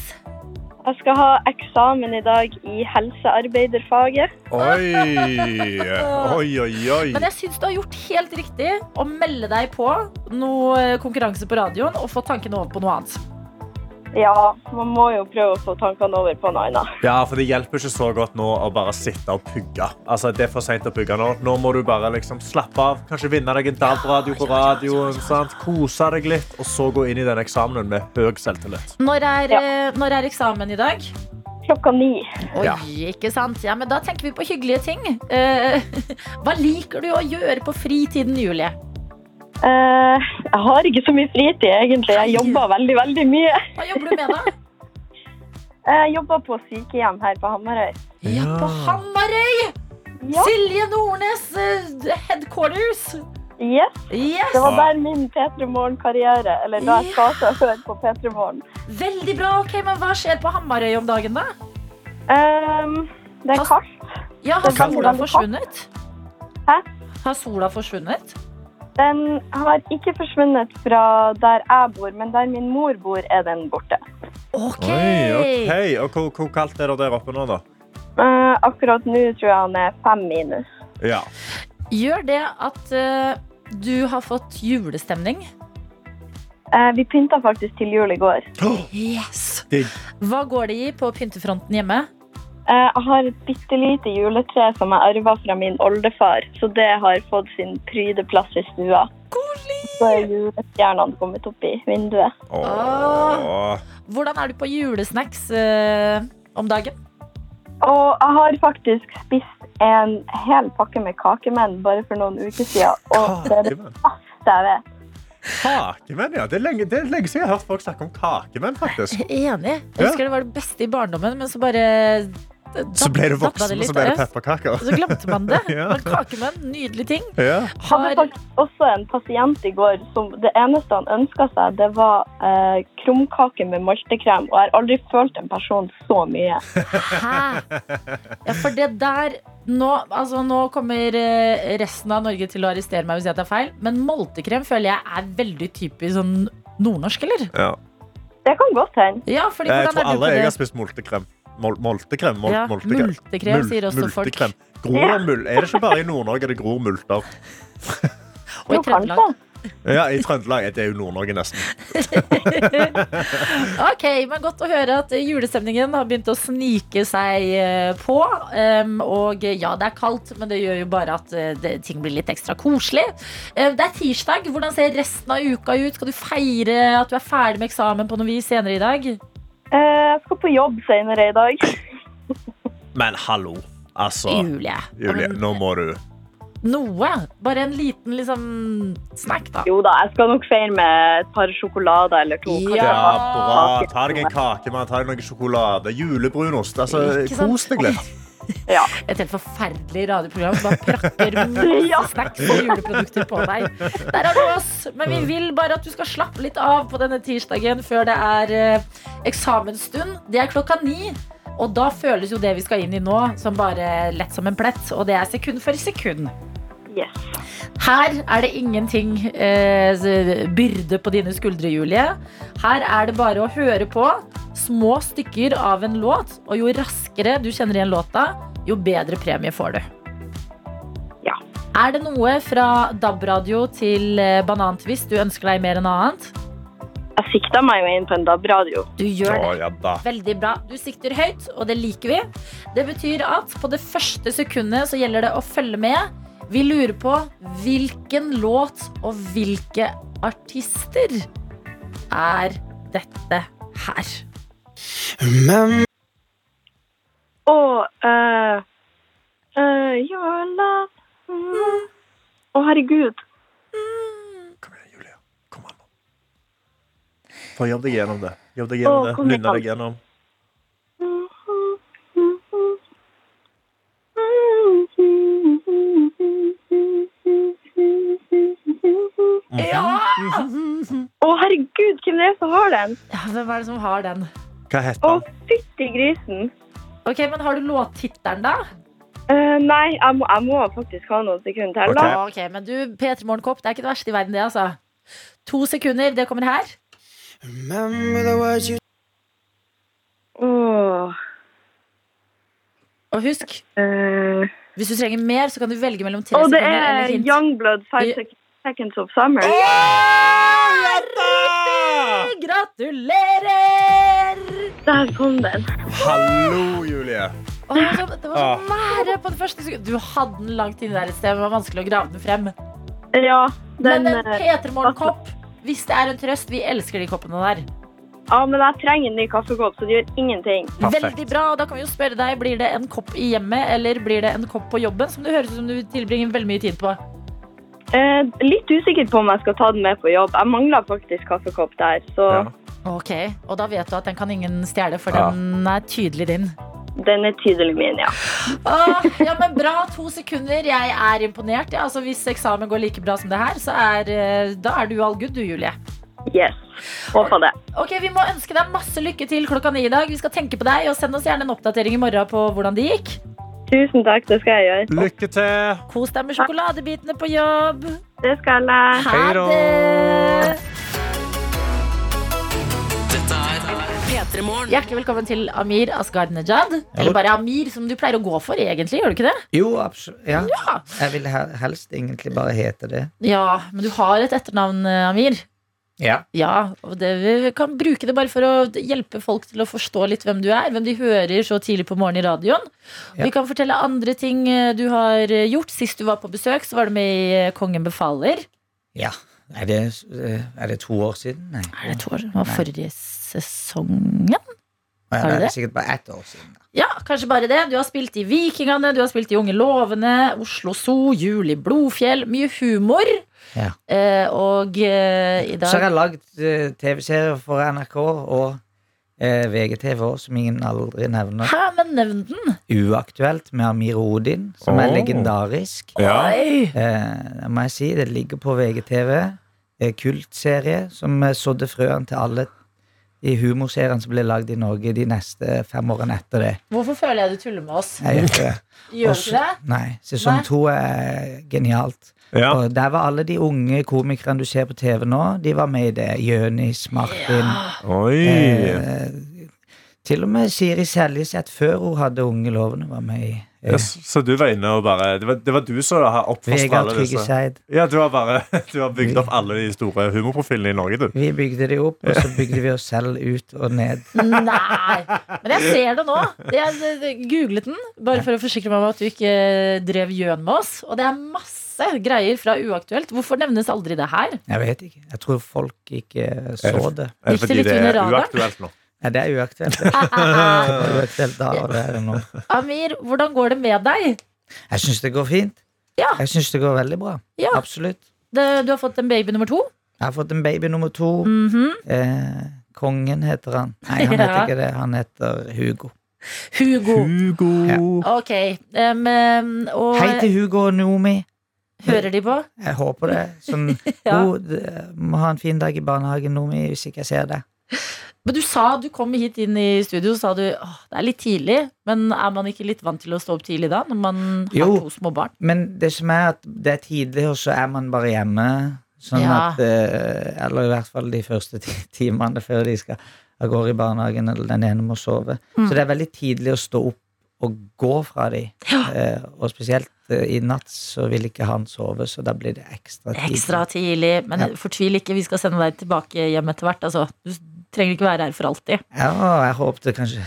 D: jeg skal ha eksamen i dag i helsearbeiderfaget.
C: Oi, oi, oi. oi.
B: Men jeg syns du har gjort helt riktig å melde deg på noe eh, konkurranse på radioen og få tankene over på noe annet.
D: Ja, man må jo prøve å få tankene over på noe annet.
C: Ja, for Det hjelper ikke så godt nå å bare sitte og pugge. Altså, det er for sent å pugge Nå Nå må du bare liksom slappe av, kanskje vinne deg en DAB-radio på radioen. sant? Kose deg litt, og så gå inn i den eksamenen med høy selvtillit.
B: Når er,
D: Ja.
B: eh, når er eksamen i dag?
D: Klokka ni.
B: Oi,
C: Ja.
B: ikke sant? Ja, men da tenker vi på hyggelige ting. Eh, hva liker du å gjøre på fritiden, Julie?
D: Eh, jeg har ikke så mye fritid, egentlig. Jeg jobber veldig, veldig mye.
B: Hva jobber du med, da?
D: Jeg jobber på sykehjem her på Hammerøy.
B: Ja, på
C: Ah.
B: Hamarøy!
D: Ja,
B: Silje Nordnes eh, headquarters.
D: yes.
B: Yes!
D: Det var der min P3 Morgen-karriere, eller da jeg starta før på P3 Morgen.
B: Veldig bra. ok, Men hva skjer på Hamarøy om dagen, da?
D: Ehm, det er kaldt.
B: Ja, Har
D: Det kan-
B: sola forsvunnet?
D: Hæ?
B: Har sola forsvunnet?
D: Den har ikke forsvunnet fra der jeg bor, men der min mor bor, er den borte.
B: OK.
C: Oi, ok. Og hvor, hvor kaldt er det der oppe nå, da?
D: Eh, akkurat nå tror jeg han er fem minus.
C: Ja.
B: Gjør det at eh, du har fått julestemning?
D: Eh, vi pynta faktisk til jul i går.
B: Yes.
C: Digg.
B: Hva går det i på pyntefronten hjemme?
D: Eh, jeg har et bitte lite juletre som jeg arva fra min oldefar, så det har fått sin prydeplass i stua. Så er julestjernene kommet opp i vinduet.
C: Åh.
B: Hvordan er du på julesnacks eh, om dagen?
D: Og jeg har faktisk spist en hel pakke med kakemenn bare for noen uker siden. Og det er det
C: Kakemenn.
D: beste jeg vet.
C: Kakemenn, ja. Det er lenge, det er lenge siden jeg har hørt folk snakke om kakemenn, faktisk.
B: Enig.
C: Ja.
B: Jeg husker det var det beste i barndommen, men så bare eh,
C: Så ble du
B: datt- datt
C: voksen,
B: litt,
C: og så ble det
B: ja.
C: pepperkaker.
B: Og så glemte man det.
C: Ja.
B: Men kakemenn, nydelig ting.
C: Ja.
D: Hadde
B: Har,
D: faktisk også en pasient i går som det eneste han ønska seg, det var eh, krumkake med multekrem. Og jeg har aldri følt en person så mye.
B: hæ? Ja, for det der nå, altså, nå kommer eh, resten av Norge til å arrestere meg hvis jeg tar feil, men moltekrem føler jeg er veldig typisk sånn nordnorsk, eller?
C: Ja.
D: Det kan godt hende.
B: Ja, fordi
C: Jeg
B: hvordan
C: tror
B: er du på
C: alle jeg
B: det?
C: har spist moltekrem. Mol moltekrem, mol
B: Ja,
C: moltekrem.
B: multekrem,
C: Mul-
B: sier også folk.
C: multekrem. Gror det mul er det ikke bare i Nord-Norge det gror multer?
B: Og i
D: Jo,
B: Trøndelag.
D: kanskje.
C: Ja, I Trøndelag det er jo Nord-Norge nesten.
B: Ok, men Godt å høre at julestemningen har begynt å snike seg eh, på. Em, og eh, ja, det er kaldt, men det gjør jo bare at eh, det, ting blir litt ekstra koselig. Eh, det er tirsdag. Hvordan ser resten av uka ut? Skal du feire at du er ferdig med eksamen på noe vis senere i dag?
D: Eh, jeg skal på jobb senere i dag.
C: Men hallo, altså.
B: Julie.
C: Julie, nå må du
B: Noe. Bare en liten liksom, snack, da.
D: Jo da, jeg skal nok feire med et par sjokolader eller to. kanskje.
B: Ja.
C: Ja, bra. Ta deg en kake, man. Ta deg noe sjokolade. Julebrunost. Altså,
B: Ikke sånn sant?
C: kos deg litt.
D: Ja.
B: Et helt forferdelig radioprogram som bare prakker masse
D: Ja.
B: snacks og juleprodukter på deg. Der har du oss. Men vi vil bare at du skal slappe litt av på denne tirsdagen før det er eh, eksamensstund. Det er klokka ni. Og da føles jo det vi skal inn i nå, som bare lett som en plett. Og det er sekund for sekund.
D: Yes.
B: Her er det ingenting eh, byrde på dine skuldre, Julie. Her er det bare å høre på små stykker av en låt. Og jo raskere du kjenner igjen låta, jo bedre premie får du.
D: Ja.
B: Er det noe fra DAB-radio til eh, banantvist du ønsker deg mer enn annet?
D: Jeg sikta meg jo inn på en DAB-radio.
B: Du gjør det.
C: Å, ja da.
B: Veldig bra. Du sikter høyt, og det liker vi. Det betyr at på det første sekundet så gjelder det å følge med. Vi lurer på hvilken låt og hvilke artister er dette her.
D: Og eh, eh, your love. Mm. Å, herregud.
C: Kom igjen, Julie. Kom an. nå. Få jobb deg gjennom det. Jobb deg gjennom
D: Å,
C: det.
D: kom igjen.
C: Nynne deg gjennom.
D: Å,
C: Mhm.
B: Ja!
D: herregud, hvem det er som har den?
B: Hvem er det som har den?
C: Hva
D: Å,
C: heter den?
D: fytti grisen.
B: Ok, men Har du låttittelen, da?
D: Eh, nei, jeg må, jeg må faktisk ha noen sekunder til. da.
C: Ok.
B: Ok, men du, P3 Morgenkopp, det er ikke det verste i verden, det, altså. To sekunder, det kommer her.
D: Åh,
B: Og husk,
D: eh,
B: hvis du trenger mer, så kan du velge mellom tre
D: Å, det
B: sekunder eller
D: er
B: hint.
D: Youngblood, Five Sec- Seconds of Summer.
C: Ja da!
B: Gratulerer!
D: Der kom den.
C: Hallo, Julie.
B: Å, det var så- det var så
C: Ah.
B: nære på det første sekundet. Du hadde den langt inni der et sted. Det var vanskelig å grave den frem.
D: Ja, den,
B: Men en
D: eh,
B: P3morgen-kopp, hvis det er en trøst, vi elsker de koppene der.
D: ja, men jeg trenger en ny kaffekopp, så det gjør ingenting.
C: Perfekt.
B: Veldig bra. og Da kan vi jo spørre deg, blir det en kopp i hjemmet, eller blir det en kopp på jobben? Som det høres ut som du tilbringer veldig mye tid på.
D: Eh, litt usikker på om jeg skal ta den med på jobb. Jeg mangler faktisk kaffekopp der, så
C: Ja.
B: Ok, Og da vet du at den kan ingen stjele, for
C: Ja.
B: den er tydelig din.
D: den er tydelig min, ja.
B: Åh, ja, men bra. To sekunder. Jeg er imponert. Ja, altså, hvis eksamen går like bra som det her, så er, eh, da er du all good, du, Julie.
D: Yes. Håper det.
B: Ok, Vi må ønske deg masse lykke til klokka ni i dag. Vi skal tenke på deg, og Send oss gjerne en oppdatering i morgen på hvordan det gikk.
D: Tusen takk, det skal jeg gjøre.
C: Lykke til.
B: Kos deg med sjokoladebitene på jobb.
D: Det skal jeg.
B: Ha
C: Hei da.
B: det!
A: P3morgen.
B: Hjertelig velkommen til Amir Asghar Nejad. Eller bare Amir, som du pleier å gå for, egentlig. gjør du ikke det?
E: Jo, absolutt. Ja. Jeg vil he- helst egentlig bare hete det.
B: Ja, Men du har et etternavn, eh, Amir.
E: Ja.
B: Ja, og det, Vi kan bruke det bare for å hjelpe folk til å forstå litt hvem du er. Hvem de hører så tidlig på morgenen i radioen.
E: Ja.
B: Vi kan fortelle andre ting eh, du har eh, gjort. Sist du var på besøk, så var du med i eh, Kongen befaler.
E: ja. Er, det, eh, er det to år siden? Nei.
B: Er det to år? Det var forrige sesongen.
E: Og
B: Har
E: jeg
B: du
E: er
B: det?
E: sikkert bare ett år siden.
B: Ja, kanskje bare det. Du har spilt i Vikingene, du har spilt i Unge lovende, Oslo Zoo, Jul i Blodfjell. Mye humor.
E: Ja.
B: Eh, og eh, i
E: Så
B: dag
E: har jeg lagd eh, TV-serier for NRK og eh, VGTV også, som ingen aldri nevner.
B: Hæ, men nevn den!
E: Uaktuelt med Amir Odin, som er
C: Åh.
E: legendarisk.
C: Ja.
B: Oi!
E: Eh, det må jeg si, det ligger på VGTV. Det er kultserie som eh, sådde frøene til alle de humorseriene som ble lagd i Norge de neste fem årene etter det.
B: Hvorfor føler jeg du tuller med oss?
E: Jeg gjør ikke det.
B: Gjør du
E: Også-
B: ikke det?
E: Nei, sesong
B: Nei.
E: to er genialt.
C: Ja.
E: Og der var alle de unge komikerne du ser på TV nå, de var med i det. Jønis, Martin
C: Oi.
E: eh, Til og med Siri Seljeseth, før hun hadde Unge lovende, var med i eh,
C: Yes, så du var inne og bare Det var, det var du som har oppfostret
E: Vegard
C: alle
E: Trygge
C: disse?
E: Seid.
C: Ja, du har bare Du har bygd opp alle de store humorprofilene i Norge, du.
E: Vi bygde de opp, og så bygde vi oss selv ut og ned.
B: Nei! Men jeg ser det nå. Jeg eh, googlet den bare for å forsikre meg om at du ikke eh, drev gjøn med oss. Og det er masse greier fra Uaktuelt. Hvorfor nevnes aldri det her?
E: Jeg vet ikke. Jeg tror folk ikke så det.
C: Er det
B: Gikk det litt under radaren?
C: uaktuelt nå.
E: Nei, det er uaktuelt. Det var uaktuelt da, og det er det nå.
B: Amir, hvordan går det med deg?
E: Jeg syns det går fint.
B: Ja.
E: Jeg syns det går veldig bra.
B: Ja.
E: Absolutt.
B: Det, du har fått en baby nummer to.
E: Jeg har fått en baby nummer to.
B: Mhm.
E: Eh, kongen heter han. Nei, han
B: Ja.
E: heter ikke det. Han heter Hugo.
B: Hugo.
C: Hugo.
B: Ok. em, em, og
E: Hei til Hugo og Noomi.
B: hører de på?
E: Jeg håper det. Sånn,
B: Ja.
E: «Ho, d- må ha en fin dag i barnehagen, Noomi, hvis ikke jeg ser deg.
B: Men du sa du kom hit inn i studio, så sa du åh, det er litt tidlig. Men er man ikke litt vant til å stå opp tidlig da, når man har
E: Jo.
B: to små barn?
E: Men det som er at det er tidlig, og så er man bare hjemme. Sånn
B: Ja.
E: at eh, Eller i hvert fall de første ti- timene før de skal av gårde i barnehagen, eller den ene må sove.
B: Mm.
E: Så det er veldig tidlig å stå opp og gå fra de.
B: Ja.
E: Eh, og spesielt eh, i natt så vil ikke han sove, så da blir det ekstra tidlig.
B: Ekstra tidlig. Men
E: Ja.
B: fortvil ikke, vi skal sende deg tilbake hjem etter hvert. Altså, du trenger ikke være her for alltid.
E: Ja, jeg håpte kanskje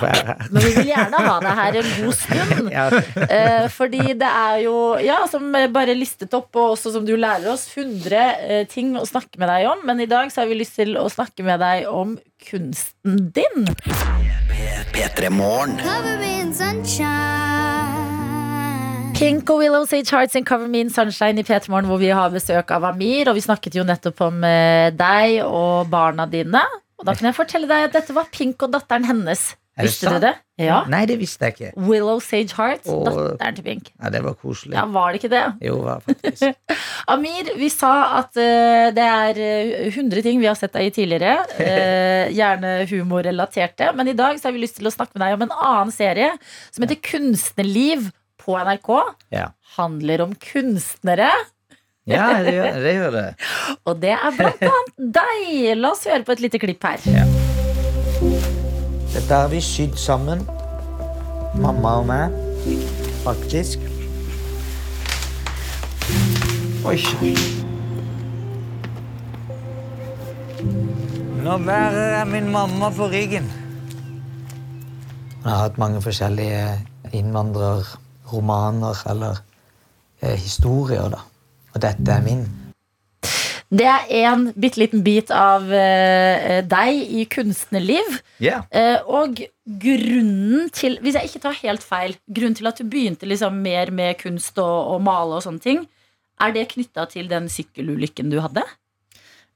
E: være her.
B: Men vi vil gjerne ha deg her en god stund.
E: Ja,
B: Eh, fordi det er jo, ja, som bare listet opp, og også som du lærer oss, 100 eh, ting å snakke med deg om. Men i dag så har vi lyst til å snakke med deg om kunsten din.
F: Cover in sunshine.
B: Pink og Willow Sage Hearts and Cover Me in Sunshine i P3morgen, hvor vi har besøk av Amir. Og vi snakket jo nettopp om eh, deg og barna dine. Og da kan jeg fortelle deg at dette var Pink og datteren hennes.
E: Er det
B: Visste
E: sant?
B: du det? Ja.
E: Nei, det visste jeg ikke.
B: Willow Sage Hearts,
E: Og-
B: datteren til Pink.
E: Ja, det var koselig.
B: Ja, var det ikke det?
E: Jo, det var faktisk.
B: Amir, vi sa at eh, det er eh, 100 ting vi har sett deg i tidligere. eh, gjerne humorrelaterte. Men i dag så har vi lyst til å snakke med deg om en annen serie som heter Kunstnerliv på NRK.
E: Ja,
B: Handler om kunstnere.
E: ja det, gjør, det gjør det.
B: Og det er blant annet deg. La oss høre på et lite klipp her.
E: Dette har vi sydd sammen. Mamma og meg. Faktisk. Oi sann. Nå bærer jeg min mamma på ryggen. Jeg har hatt mange forskjellige innvandrerromaner eller eh, historier, da. Og dette er min.
B: Det er en bitte liten bit av eh, deg i kunstnerliv.
E: Ja.
B: Eh, og grunnen til Hvis jeg ikke tar helt feil Grunnen til at du begynte liksom mer med kunst og, og male og sånne ting, er det knytta til den sykkelulykken du hadde?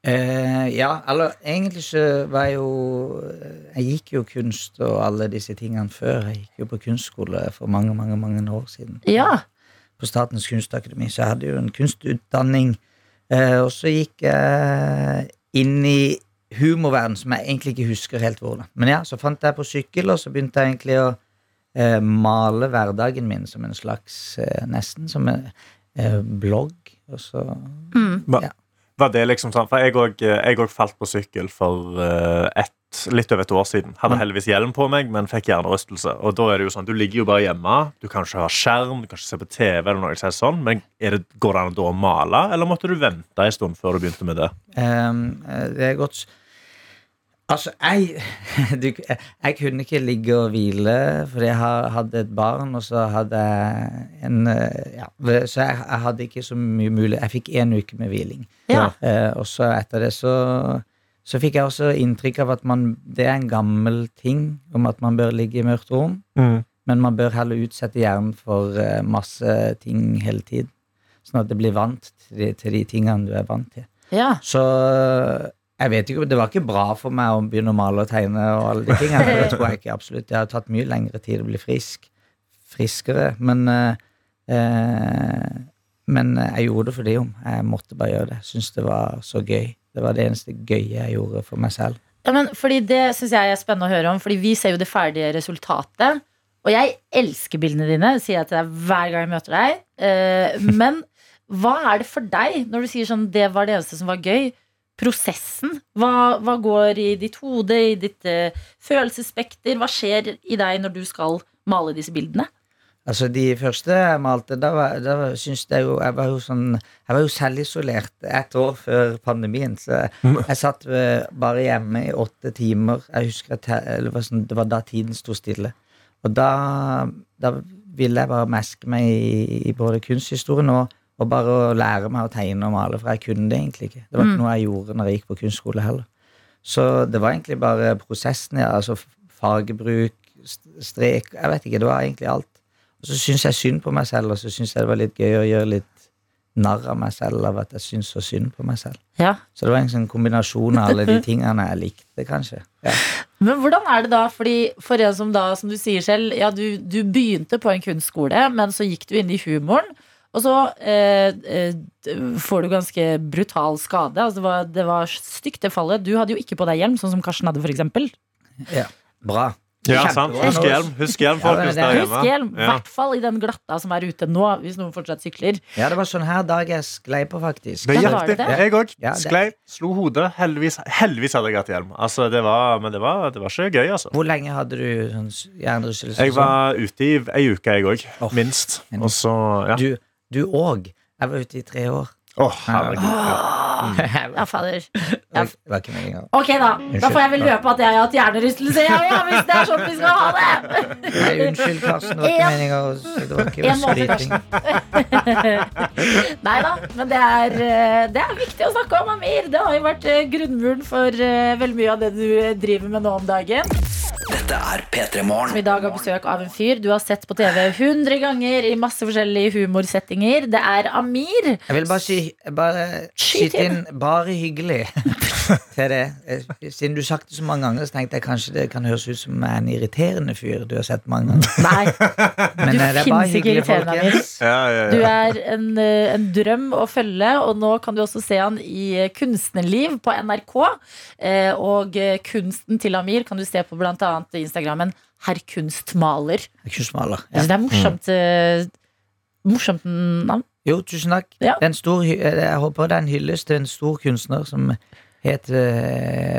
E: Eh, ja, eller egentlig så var jeg jo Jeg gikk jo kunst og alle disse tingene før. Jeg gikk jo på kunstskole for mange, mange mange år siden.
B: Ja.
E: På Statens kunstakademi. Så jeg hadde jo en kunstutdanning. Eh, og så gikk jeg inn i humorverden, som jeg egentlig ikke husker helt hvordan. Men ja, så fant jeg på sykkel, og så begynte jeg egentlig å eh, male hverdagen min som en slags eh, Nesten som en eh, blogg. Og så
C: Var,
E: Ja.
C: var det liksom sånn For jeg òg- jeg òg falt på sykkel for eh, ett- litt over et år siden. Hadde heldigvis hjelm på meg, men fikk hjernerystelse. Og da er det jo sånn, Du ligger jo bare hjemme, du kan ikke ha skjerm, du kan ikke se på TV, eller noe sånt, sånn, men er det, går det an da å male, eller måtte du vente en stund før du begynte med det?
E: Ehm, eh, det er godt s- Altså, jeg, du, jeg- jeg kunne ikke ligge og hvile, fordi jeg har- hadde et barn, og så hadde jeg en eh, ja, v- Så jeg, jeg hadde ikke så mye mulig Jeg fikk én uke med hviling.
B: Ja.
E: Eh, og så etter det så så fikk jeg også inntrykk av at man, det er en gammel ting om at man bør ligge i mørkt rom, men man bør heller utsette hjernen for eh, masse ting hele tiden. Sånn at det blir vant til de, til de tingene du er vant til.
B: Ja.
E: Så eh, jeg vet ikke, det var ikke bra for meg å begynne å male og tegne og alle de tingene. for Det tror jeg ikke absolutt. Det har tatt mye lengre tid å bli frisk. Friskere. Men, eh, eh, men jeg gjorde det for det om. Jeg måtte bare gjøre det. Syns det var så gøy. Det var det eneste gøye jeg gjorde for meg selv.
B: Ja, men fordi Det syns jeg er spennende å høre om, Fordi vi ser jo det ferdige resultatet. Og jeg elsker bildene dine, det sier jeg til deg hver gang jeg møter deg. Eh, men hva er det for deg, når du sier sånn det var det eneste som var gøy? Prosessen? Hva, hva går i ditt hode, i ditt eh, følelsesspekter? Hva skjer i deg når du skal male disse bildene?
E: Altså De første jeg malte, da, var, da var- syns jeg jo Jeg var jo sånn Jeg var jo selvisolert et år før pandemien. Så jeg satt eh, bare hjemme i åtte timer. Jeg husker at jeg, eller det, var sånn, det var da tiden sto stille. Og da, da ville jeg bare meske meg i, i både kunsthistorien og, og bare å lære meg å tegne og male, for jeg kunne det egentlig ikke. Det var ikke noe jeg gjorde når jeg gikk på kunstskole heller. Så det var egentlig bare prosessen, ja. Altså f- fargebruk, st- strek Jeg vet ikke, det var egentlig alt. Og så syns jeg synd på meg selv, og så syns jeg det var litt gøy å gjøre litt narr av meg selv av at jeg syns så synd på meg selv.
B: Ja,
E: Så det var en sånn kombinasjon av alle de tingene jeg likte, kanskje. Ja.
B: Men hvordan er det da, fordi for en som da, som du sier selv, ja, du, du begynte på en kunstskole, men så gikk du inn i humoren, og så eh, eh, får du ganske brutal skade. Altså, det, var, det var stygt det fallet. Du hadde jo ikke på deg hjelm, sånn som Karsten hadde, for eksempel.
E: Bra.
C: Ja, sant.
E: Kjempebra.
C: Husk hjelm, husk hjelm
E: Ja, men
C: folkens
E: det-
C: der
B: Husk
C: hjemme.
B: hjelm, i
C: Ja.
B: hvert fall i den glatta som er ute nå, hvis noen fortsatt sykler.
E: Ja, det var sånn her dag jeg sklei på, faktisk.
C: Det
B: Ja,
C: hjalp
B: var det
C: litt.
B: det?
C: Jeg òg.
E: Ja, det-
C: Sklei, slo hodet. Heldigvis, heldigvis hadde jeg hatt hjelm. Altså, det var, men det var, det var ikke gøy, altså.
E: Hvor lenge hadde du sånn s- hjernerystelse?
C: Jeg var ute i ei uke, jeg òg.
E: Åh.
C: Minst. Og så Ja.
E: Sånn, Du- Du òg. Jeg var ute i tre år.
C: Å, herregud. Ja.
B: Ja, fader.
E: Det var- det var ikke meg engang.
B: Ok da, da får jeg vel løpe at jeg har hatt hjernerystelse, jeg også, hvis det er sånn vi skal ha det.
E: Nei, unnskyld, Karsten. Det var ikke
B: En-
E: meninga å Det var ikke
B: En måned,
E: skryting.
B: Nei da, men det er, eh, det er viktig å snakke om, Amir. Det har jo vært eh, grunnmuren for eh, veldig mye av det du eh, driver med nå om dagen.
F: Dette er P3
B: Som
F: Morgen.
B: i dag har besøk av en fyr du har sett på TV 100 ganger i masse forskjellige humorsettinger. Det er Amir.
E: Jeg vil bare si bare
B: Skyt
E: skyte inn bare hyggelig til det. Eh, Siden du sagt det så mange ganger, så tenkte jeg kanskje det kan høres ut som jeg er en irriterende fyr du har sett mange ganger.
B: Nei,
E: Men
B: Du
E: eh, det er bare
B: finnes ikke
E: hyggelig,
B: irriterende, Amir.
E: folkens.
C: Ja, ja,
B: du
C: ja.
B: er en, eh, en drøm å følge, og nå kan du også se han i eh, Kunstnerliv på NRK. Eh, Og eh, kunsten til Amir kan du se på bl.a. Instagrammen Herr Kunstmaler.
E: Jeg er ikke smaler.
B: Jeg
E: Ja.
B: synes det er morsomt eh, Morsomt navn.
E: Jo, tusen takk. Det
B: Ja.
E: er en stor, hy- eh, jeg håper det er en hyllest til en stor kunstner som heter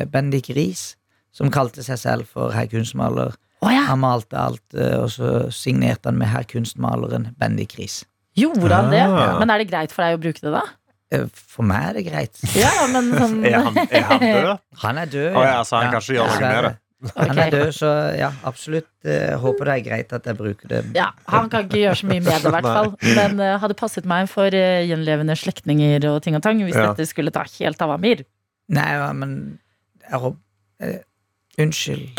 E: eh, Bendik Riis, som kalte seg selv for herr kunstmaler.
B: Å ja!
E: Han malte alt, eh, og så signerte han med herr kunstmaleren Bendik Riis.
B: Gjorde han det?
C: Ah.
B: Men er det greit for deg å bruke det, da?
E: Eh, For meg er det greit.
B: Ja, ja, men sånn
C: Er han, er han død?
E: Han er død.
C: Å ja, så han kan ikke gjøre noe med
E: dessverre. Han
B: Ok.
E: er død, så ja, absolutt. eh, håper det er greit at jeg bruker det.
B: Ja, Han kan ikke gjøre så mye med det, i hvert fall. Men eh, hadde passet meg for eh, gjenlevende slektninger og ting og tang hvis
C: Ja.
B: dette skulle ta helt av Amir.
E: Nei, ja, men jeg håper eh, Unnskyld.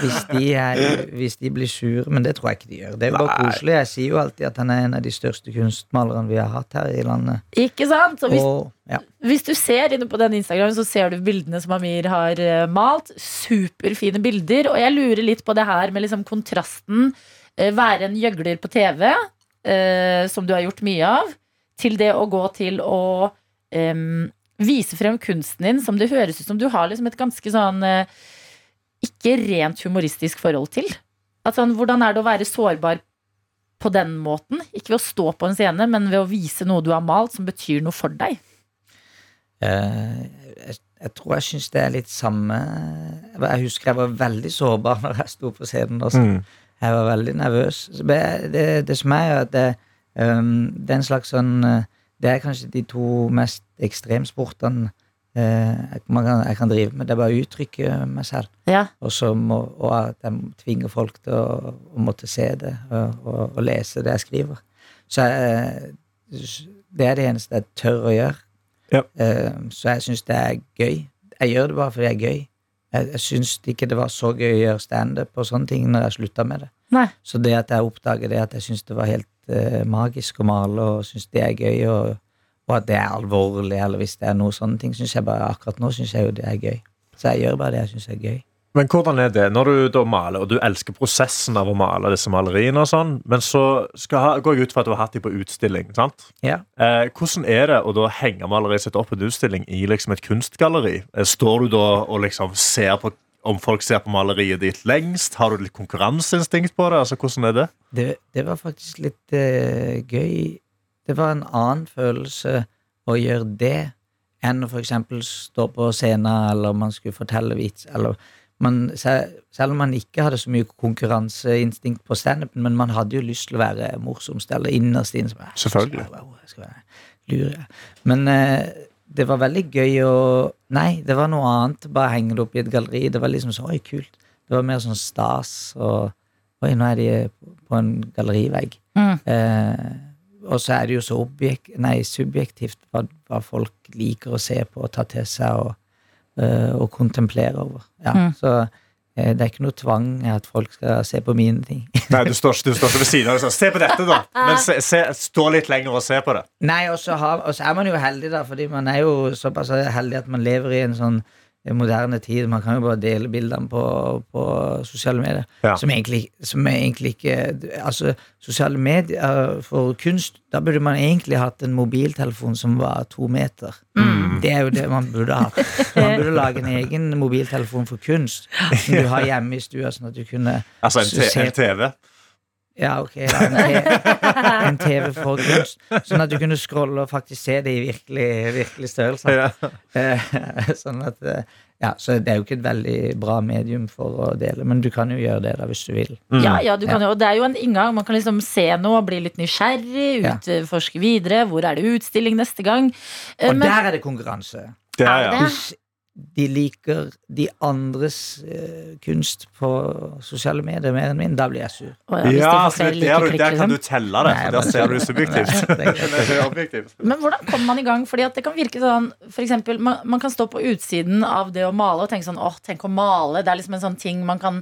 E: Hvis de, er, hvis de blir sure, men det tror jeg ikke de gjør. Det er jo bare koselig. Jeg sier jo alltid at han er en av de største kunstmalerne vi har hatt her i landet.
B: Ikke sant? Og hvis,
E: Og, ja.
B: hvis du ser inne på den Instagramen, så ser du bildene som Amir har eh, malt. Superfine bilder. Og jeg lurer litt på det her med liksom kontrasten. eh, Være en gjøgler på TV, eh, som du har gjort mye av, til det å gå til å em, vise frem kunsten din, som det høres ut som du har liksom et ganske sånn eh, ikke rent humoristisk forhold til. At sånn, hvordan er det å være sårbar på den måten? Ikke ved å stå på en scene, men ved å vise noe du har malt som betyr noe for deg.
E: Eh, jeg, jeg tror jeg syns det er litt samme Jeg husker jeg var veldig sårbar når jeg sto på scenen. Også.
C: Mm.
E: Jeg var veldig nervøs. Så Det, det, det som er, er at det, ehm, det er en slags sånn eh, Det er kanskje de to mest ekstremsportene eh, jeg, man kan, jeg kan drive med. Det er bare å uttrykke meg selv.
B: Ja.
E: Og, så må, og at jeg tvinger folk til å, å måtte se det og, og, og eh, lese det jeg skriver. Så jeg, det er det eneste jeg tør å gjøre.
C: Ja.
E: Eh, så jeg syns det er gøy. Jeg gjør det bare fordi det er gøy. Jeg, jeg syns ikke det var så gøy å gjøre standup og sånne ting når jeg slutta med det.
B: Nei.
E: Så det at jeg oppdager det, at jeg syns det var helt eh, magisk å male, og syns det er gøy, og, og at det er alvorlig, eller hvis det er noe sånne ting, synes jeg bare akkurat nå synes jeg jo det er gøy. Så jeg gjør bare det jeg syns er gøy.
C: Men hvordan er det når du da maler, og du elsker prosessen av å male disse maleriene, og sånn, men så skal ha, går jeg ut fra at du har hatt dem på utstilling. sant?
E: Ja.
C: Eh, hvordan er det å da henge maleriet sitt opp på en utstilling i liksom et kunstgalleri? Eh, Står du da og liksom ser på om folk ser på maleriet ditt lengst? Har du litt konkurranseinstinkt på det? Altså, hvordan er det?
E: Det, det var faktisk litt eh, gøy. Det var en annen følelse å gjøre det enn å for eksempel stå på scenen eller man skulle fortelle vits. Eller man, se- selv om man ikke hadde så mye konkurranseinstinkt på standupen, men man hadde jo lyst til å være morsomst eller innerst inne. så bare,
C: Selvfølgelig.
E: Wow, wow, jeg skal være lure. Men eh, det var veldig gøy å Nei, det var noe annet. Bare henge det opp i et galleri. Det var liksom sånn Oi, kult. Det var mer sånn stas og Oi, nå er de eh, på en gallerivegg.
B: Mm.
E: Eh, og så er det jo så objek nei, subjektivt hva, hva folk liker å se på og ta til seg og, eh, og kontemplere over. Ja,
B: Mm.
E: Så eh, det er ikke noe tvang at folk skal se på mine ting.
C: Nei, du står, ikke- du står ikke ved siden av det. sånn, Se på dette, da! Men se, se, stå litt lenger og se på det.
E: Nei, og så, har, og så er man jo heldig, da, fordi man er jo såpass heldig at man lever i en sånn moderne tid. Man kan jo bare dele bildene på, på sosiale medier.
C: Ja.
E: Som, egentlig, som egentlig ikke Altså, sosiale medier for kunst Da burde man egentlig hatt en mobiltelefon som var to meter. Det er jo det man burde hatt. Man burde lage en egen mobiltelefon for kunst som du har hjemme i stua, sånn at du kunne
C: Altså en,
E: se-
C: t en TV.
E: ja, ok. da, En, te- en TV for kunst. Sånn at du kunne scrolle og faktisk se det i virkelig, virkelig størrelse.
C: Ja.
E: Eh, Sånn at eh, Ja, så det er jo ikke et veldig bra medium for å dele, men du kan jo gjøre det da hvis du vil.
C: Mm.
B: Ja, ja, du kan jo, og det er jo en inngang. Man kan liksom se noe, bli litt nysgjerrig,
E: Ja.
B: utforske videre. Hvor er det utstilling neste gang? Eh,
E: Og
B: Men
E: der er det konkurranse.
C: Det
B: er
C: er, ja.
B: det?
E: Hvis de liker de andres eh, kunst på sosiale medier mer enn min, da blir jeg sur.
B: Å, ja, hvis de
C: Ja,
B: får
C: så
B: flere
C: det er
B: like
C: du-
B: klikk,
C: der kan
B: liksom.
C: du telle det,
E: Nei,
C: for der
E: men-
C: ser du det
E: Nei,
C: subjektivt.
E: det er greit.
C: Eller objektivt.
B: Men hvordan kommer man i gang? Fordi at det kan virke sånn for eksempel, man, man kan stå på utsiden av det å male og tenke sånn åh, tenk å male. Det er liksom en sånn ting man kan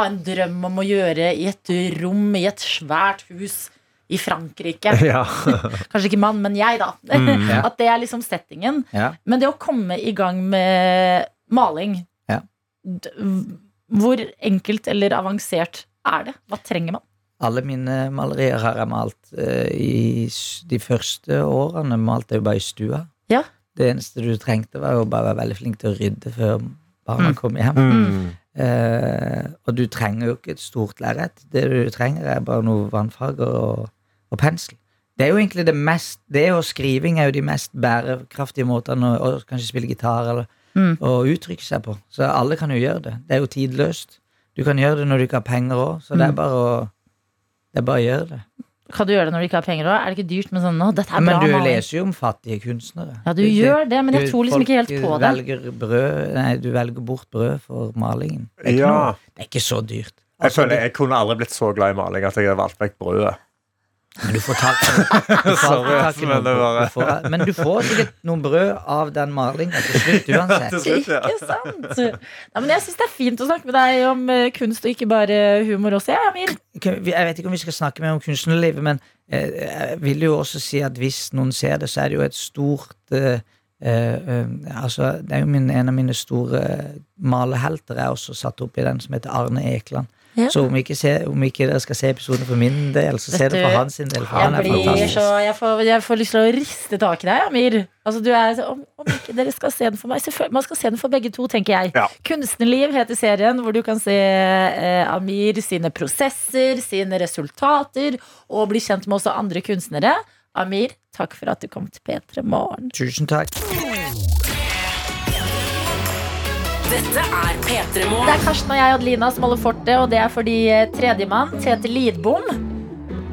B: ha en drøm om å gjøre i et rom i et svært hus i Frankrike.
C: Ja. Mm.
B: Kanskje ikke man, men jeg, da.
E: ja.
B: At det er liksom settingen.
E: Ja.
B: Men det å komme i gang med maling
E: Ja.
B: d- Hvor enkelt eller avansert er det? Hva trenger man?
E: Alle mine malerier har jeg malt eh, i s- de første årene. Malte jeg jo bare i stua.
B: Ja.
E: Det eneste du trengte, var jo bare å være veldig flink til å rydde før barna
B: Mm.
E: kom hjem.
C: Mm.
E: Eh, og du trenger jo ikke et stort lerret. Det du trenger, er bare noe vannfarger og, og pensel. Det er jo egentlig det mest Det og skriving er jo de mest bærekraftige måtene å å kanskje spille gitar eller
B: Mm.
E: å uttrykke seg på. Så alle kan jo gjøre det. Det er jo tidløst. Du kan gjøre det når du ikke har penger òg, så
B: Mm.
E: det er bare å det er bare å gjøre det.
B: Kan du gjøre det når du ikke har penger òg? Er det ikke dyrt med sånn «Å, dette er
E: Men
B: bra
E: du
B: maling?
E: leser jo om fattige kunstnere.
B: Ja, du
E: Det- det-
B: gjør det, men jeg
E: du-
B: tror liksom ikke
E: folk
B: helt på det.
E: Velger brød, nei, du velger bort brød for malingen. Det er ikke,
C: ja.
E: noe, det er ikke så dyrt.
C: Jeg
E: Altså,
C: føler
E: det-
C: jeg kunne aldri blitt så glad i maling at jeg hadde valgt vekk brødet.
E: Men du får tak du får
C: Sorry,
E: tak
C: ass,
E: i
C: men
E: noen
C: det
E: brød.
C: bare-
E: Du får- Men du får sikkert noen brød av den malinga til slutt uansett.
C: Til slutt, ja.
B: Ikke sant? Ja, men jeg syns det er fint å snakke med deg om eh, kunst og ikke bare humor også, jeg, Amir.
E: Kan vi- Jeg vet ikke om vi skal snakke mer om kunstnerlivet, men eh, jeg vil jo også si at hvis noen ser det, så er det jo et stort eh, eh, eh, altså, Det er jo min, en av mine store eh, malehelter er også satt opp i den som heter Arne Ekeland.
B: Ja.
E: Så om ikke, se, om ikke dere skal se episoden for min del, så se
B: Vet
E: det for
B: du,
E: hans del. For han
B: Jeg,
E: er
B: blir
E: fantastisk.
B: så, jeg, får, jeg får lyst til å riste tak i deg, Amir. Altså, du er, så- om, om ikke dere skal se den for meg Selvfølgelig, Man skal se den for begge to, tenker jeg.
C: Ja.
B: Kunstnerliv heter serien, hvor du kan se eh, Amir sine prosesser, sine resultater, og bli kjent med også andre kunstnere. Amir, takk for at du kom til P3 Morgen.
E: Tusen takk.
A: Dette er P3
B: Det
A: Morgen.
B: er Karsten og jeg, Adelina, som holder fortet, og det er fordi eh, tredjemann, Tete Lidbom,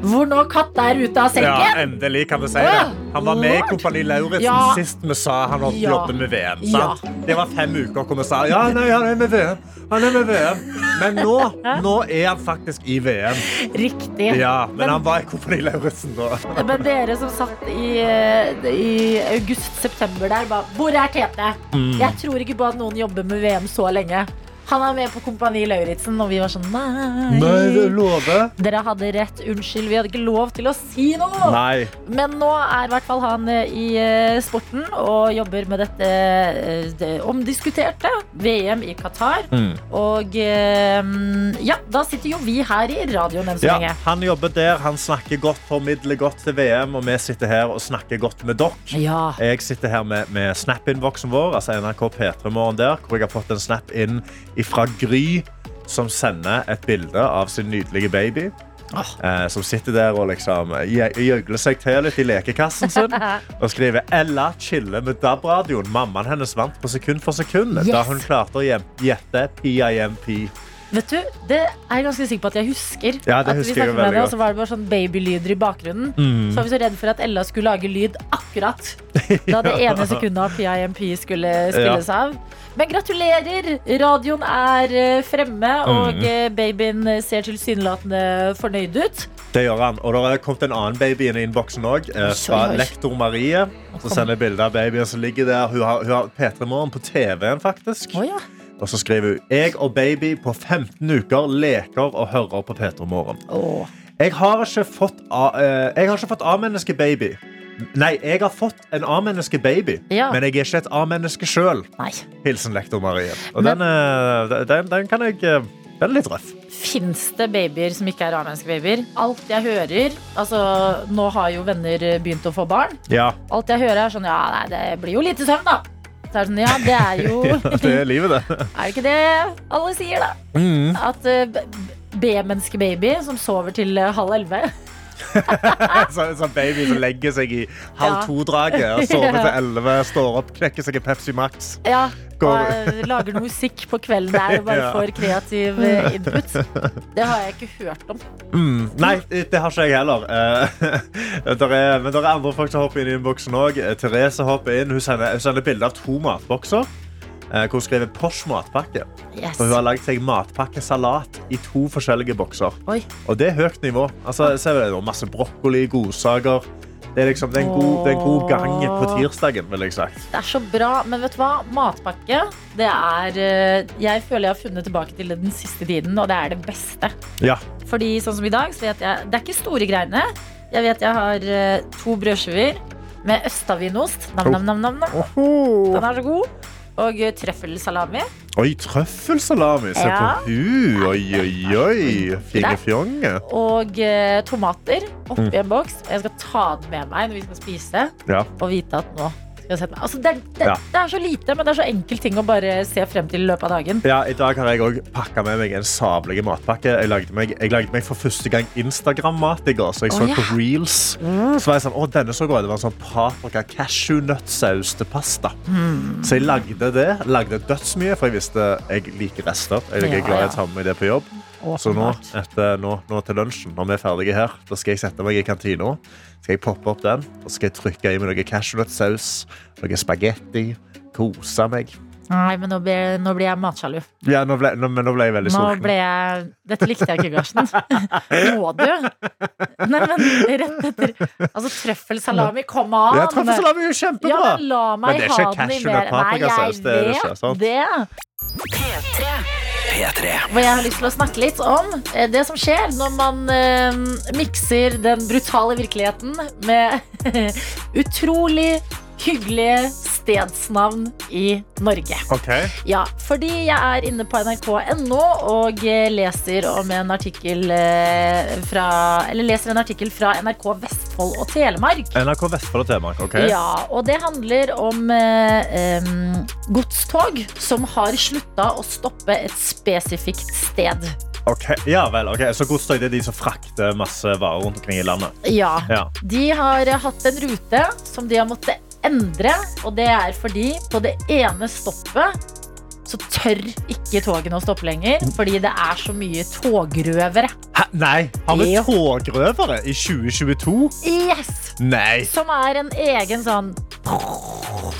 B: Hvor nå katta er ute av
C: Ja,
B: sengen?
C: endelig kan vi si det. Han var med i
B: Lord.
C: Kompani Lauritzen
B: Ja.
C: sist vi sa han holdt
B: Ja.
C: jobbet med VM.
B: Ja.
C: Sant? Det var fem uker hvor vi sa ja, nei, han er med VM. Han er med VM. Men nå, nå er han faktisk i VM.
B: Riktig.
C: Ja, men han var i Kompani Lauritzen da.
B: Men dere som satt i, eh, i august-september der, bare Hvor er Tete?
C: Mm.
B: Jeg tror ikke på at noen jobber med VM så lenge. Han er med på Kompani Lauritzen, og vi var sånn nei.
C: lover.
B: Dere hadde rett. Unnskyld, vi hadde ikke lov til å si noe.
C: Nei.
B: Men nå er i hvert fall han eh, i eh, sporten og jobber med dette eh, det omdiskuterte VM i Qatar.
C: Mm.
B: Og eh, ja, da sitter jo vi her i radioen enn så
C: Ja,
B: lenge.
C: han jobber der, han snakker godt, formidler godt til VM, og vi sitter her og snakker godt med dere.
B: Ja.
C: Jeg sitter her med, med snap-innboksen vår, altså NRK P3 Morgen der, hvor jeg har fått en snap inn fra Gry, som sender et bilde av sin nydelige baby. Eh, som sitter der og liksom gjø- gjøgler seg til litt i lekekassen sin. Og skriver Ella chiller med DAB-radioen. Mammaen hennes vant på sekund for sekund da
B: Yes.
C: hun klarte å gjem- gjette PIMP.
B: Vet du, det er jeg ganske sikker på at jeg husker.
C: Ja, det
B: at vi
C: husker
B: snakket
C: jeg jo
B: med
C: veldig
B: henne, Og
C: godt. Mm.
B: så var det bare sånn babylyder i bakgrunnen. Så var vi så redd for at Ella skulle lage lyd akkurat da det
C: Ja.
B: ene sekundet av PIMP skulle spilles av. Men gratulerer! Radioen er eh, fremme,
C: Mm.
B: og eh, babyen ser tilsynelatende fornøyd ut.
C: Det gjør han. Og det er kommet en annen baby inn i innboksen òg, fra
B: Oi, oi.
C: lektor Marie. Som sender bilde av babyen som ligger der. Hun har, hun har P3 Morgen på TV-en, faktisk.
B: Å ja.
C: Og så skriver hun Jeg og baby på 15 uker leker og hører på P3 Morgen.
B: Åh.
C: Jeg har ikke fått A- eh, Jeg har ikke fått A-menneske baby. Nei, jeg har fått en A-menneske baby,
B: Ja.
C: men jeg er ikke et A-menneske sjøl.
B: Nei.
C: Hilsen lektor Marie. Og
B: Men-
C: den, eh, den, den kan jeg eh, Den er litt røff.
B: Fins det babyer som ikke er A-menneskebabyer? Alt jeg hører Altså, nå har jo venner begynt å få barn.
C: Ja,
B: Alt jeg hører er sånn Ja, nei, det blir jo lite søvn, da. Så er det sånn, ja, det er jo
C: det er livet, det.
B: Er det ikke det alle sier, da?
C: Mm.
B: At eh, b- B-menneskebaby som sover til eh, halv elleve
C: Sånn sånn baby som legger seg i halv to-draget og sover til elleve, står opp, knekker seg i Pepsi Max.
B: ja, og
C: Går-
B: eh, lager noe musikk på kvelden der og bare
C: Ja.
B: får kreativ eh, input. Det har jeg ikke hørt om.
C: Mm, nei, det har ikke jeg heller. Eh, der er, men det er andre folk som hopper inn i innboksen òg. Therese hopper inn. Hun sender, hun sender bilde av to matbokser. eh, Hvor hun skriver Porsche matpakke.
B: Yes.
C: For hun har lagd seg matpakkesalat i to forskjellige bokser.
B: Oi.
C: Og det er høyt nivå. Altså, ser vi det, masse brokkoli, godsaker. Det er, liksom, det, er en god, det er en god gang på tirsdagen, vil jeg sagt.
B: Det er så bra, men vet du hva? Matpakke, det er eh, Jeg føler jeg har funnet tilbake til det den siste tiden, og det er det beste.
C: Ja.
B: Fordi sånn som i dag, så vet jeg Det er ikke store greiene. Jeg vet jeg har eh, to brødskiver med østavinost. Nam, nam, nam, nam, nam. Den er så god. Og eh, trøffelsalami.
C: Oi, trøffelsalami! Se
B: Ja.
C: på hun! Oi, oi, oi! Fine fjonge.
B: Og eh, tomater oppi en boks. Og jeg skal ta den med meg når vi skal spise.
C: Mm. Ja.
B: Og vite at nå skal jeg sette meg altså, det, er- det,
C: Ja.
B: det er så lite, men det er så enkel ting å bare se frem til i løpet av dagen.
C: Ja, I dag har jeg òg pakka med meg en sablig matpakke. Jeg lagde meg, jeg lagde meg for første gang Instagram-mat i går. Så jeg så
B: Å, ja. Mm.
C: på reels. Så var jeg sånn, å, denne så god ut. Det var en sånn paprika cashewnøttsaus til pasta.
B: Hmm.
C: Så jeg lagde det. Lagde dødsmye, for jeg visste jeg liker rester. Jeg er
B: Ja,
C: glad
B: ja.
C: jeg tar med meg det på jobb. Så nå, etter, nå, nå til lunsjen, når vi er ferdige her, da skal jeg sette meg i kantina. Skal jeg poppe opp den, og skal jeg trykke i meg noe cashewnøttsaus, noe spagetti, kose meg.
B: Nei, men nå ble, nå ble jeg matsjalu.
C: Ja, nå ble, nå, men nå ble jeg veldig
B: Nå
C: sulten.
B: ble jeg Dette likte jeg ikke, Garsen. Må du? Nei, men rett etter Altså, trøffelsalami, kom an!
C: Ja, trøffelsalami er jo
B: Ja,
C: kjempebra!
B: men la meg
C: Men det er ikke
B: ha den i
C: cashew
B: mer
C: nut paprikasaus, altså, det er
B: Nei,
C: det ikke, sant?
B: jeg vet det.
F: P3.
B: Hvor jeg har lyst til å snakke litt om eh, det som skjer når man eh, mikser den brutale virkeligheten med utrolig hyggelige stedsnavn i Norge.
C: Ok.
B: Ja, fordi jeg er inne på nrk.no og eh, leser om en artikkel eh, fra Eller leser en artikkel fra NRK Vestfold og Telemark.
C: NRK Vestfold og Telemark. ok?
B: Ja, og det handler om eh, em, godstog som har slutta å stoppe et spesifikt sted.
C: Ok, Ja vel. ok. Så godstog det er de som frakter masse varer rundt omkring i landet?
B: Ja.
C: Ja.
B: De har eh, hatt en rute som de har måttet endre, og det er fordi på det ene stoppet så tør ikke togene å stoppe lenger, fordi det er så mye togrøvere.
C: Hæ? Nei, har vi
B: Jo.
C: togrøvere i 2022?
B: Yes!
C: Nei,
B: Som er en egen sånn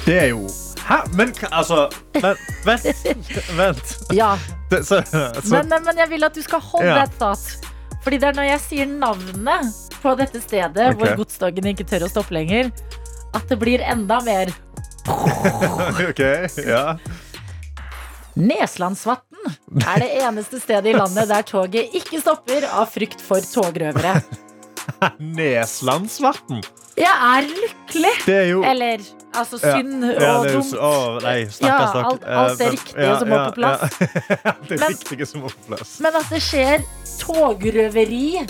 C: det er jo Hæ? Men hva- altså men, Vent. vent.
B: Ja.
C: Det, så, så,
B: Men, men jeg vil at du skal holde
C: Ja.
B: deg tatt. Fordi det er når jeg sier navnet på dette stedet
C: Ok.
B: hvor godstogene ikke tør å stoppe lenger, at det blir enda mer
C: OK. Ja.
B: Neslandsvatn er det eneste stedet i landet der toget ikke stopper av frykt for togrøvere.
C: Neslandsvatn.
B: Jeg er lykkelig!
C: Det er jo
B: Eller altså
C: Ja.
B: synd
C: Ja,
B: og
C: det er jo
B: dumt.
C: så- å, nei,
B: Ja,
C: stakkars dere.
B: alt- alt det
C: Eh, men-
B: riktige som må på plass.
C: ja. det
B: Men-
C: riktige som må på plass.
B: Men at det skjer togrøveri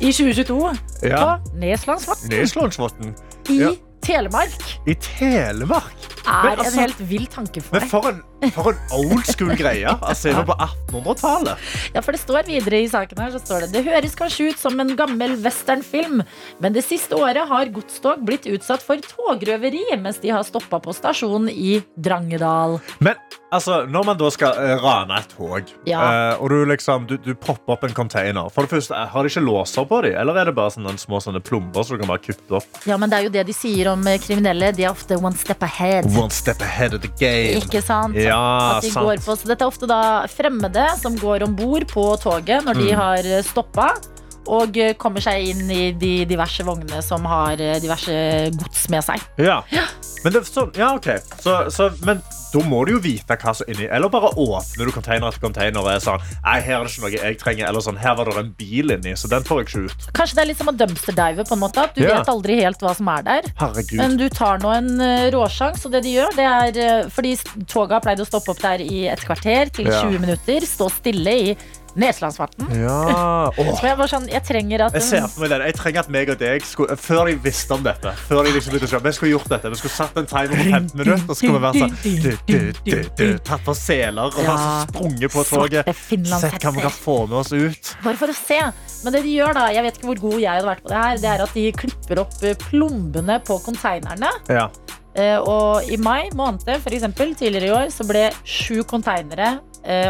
B: i 2022
C: Ja.
B: på Neslandsvatn
C: Neslandsvatn
B: i
C: Ja.
B: Telemark
C: i Telemark.
B: er
C: altså-
B: en helt vill tanke for
C: Men
B: meg.
C: for en, for en old school greie. Altså, jeg var på 1800-tallet.
B: Ja, for det står videre i saken her, så står det Det høres kanskje ut som en gammel westernfilm, men det siste året har godstog blitt utsatt for togrøveri mens de har stoppa på stasjonen i Drangedal.
C: Men altså, når man da skal eh, rane et tog,
B: Ja.
C: eh, og du liksom Du, du popper opp en container For det første, eh, Har de ikke låser på dem, eller er det bare sånne små sånne plomber som du kan bare kutte opp?
B: Ja, men det er jo det de sier om eh, kriminelle. De er ofte one step ahead.
C: One step ahead of the game.
B: Ikke sant?
C: Ja,
B: At de
C: sant.
B: går på, så dette er ofte da fremmede som går om bord på toget når
C: Mm.
B: de har stoppa. Og eh, kommer seg inn i de diverse vognene som har eh, diverse gods med seg.
C: Ja. Men, det, så, ja, ok. så, så, men da må du jo vite hva som er inni. Eller bare åpner du container etter container og er sånn Nei, her er det ikke noe jeg trenger. Eller sånn, her var det en bil inni, så den får jeg ikke ut.
B: Kanskje det er litt som å dumpsterdive. på en måte, at Du
C: Ja.
B: vet aldri helt hva som er der. Men
C: Herregud.
B: du tar nå en eh, råsjans, og det de gjør, det er eh, Fordi toget har pleid å stoppe opp der i et kvarter til
C: Ja.
B: 20 minutter. Stå stille i Neslandsvatn.
C: Ja. Åh.
B: Og jeg var sånn, jeg trenger at
C: Jeg ser for meg den. Jeg trenger at meg og deg skulle, Før de visste om dette Før de liksom begynte å kjøre Vi skulle gjort dette Vi skulle satt en timer på 15 minutter Og så skulle vi være sånn du, du, du, du, Tatt på seler Og bare
B: Ja.
C: så sprunget på toget
B: Svarte finlandshetter.
C: Sett hva vi kan få med oss ut
B: Bare for å se. Men det de gjør, da, jeg vet ikke hvor god jeg hadde vært på det her, det er at de klipper opp eh, plombene på konteinerne.
C: Ja
B: Eh, Og i mai måned, for eksempel, tidligere i år, så ble sju konteinere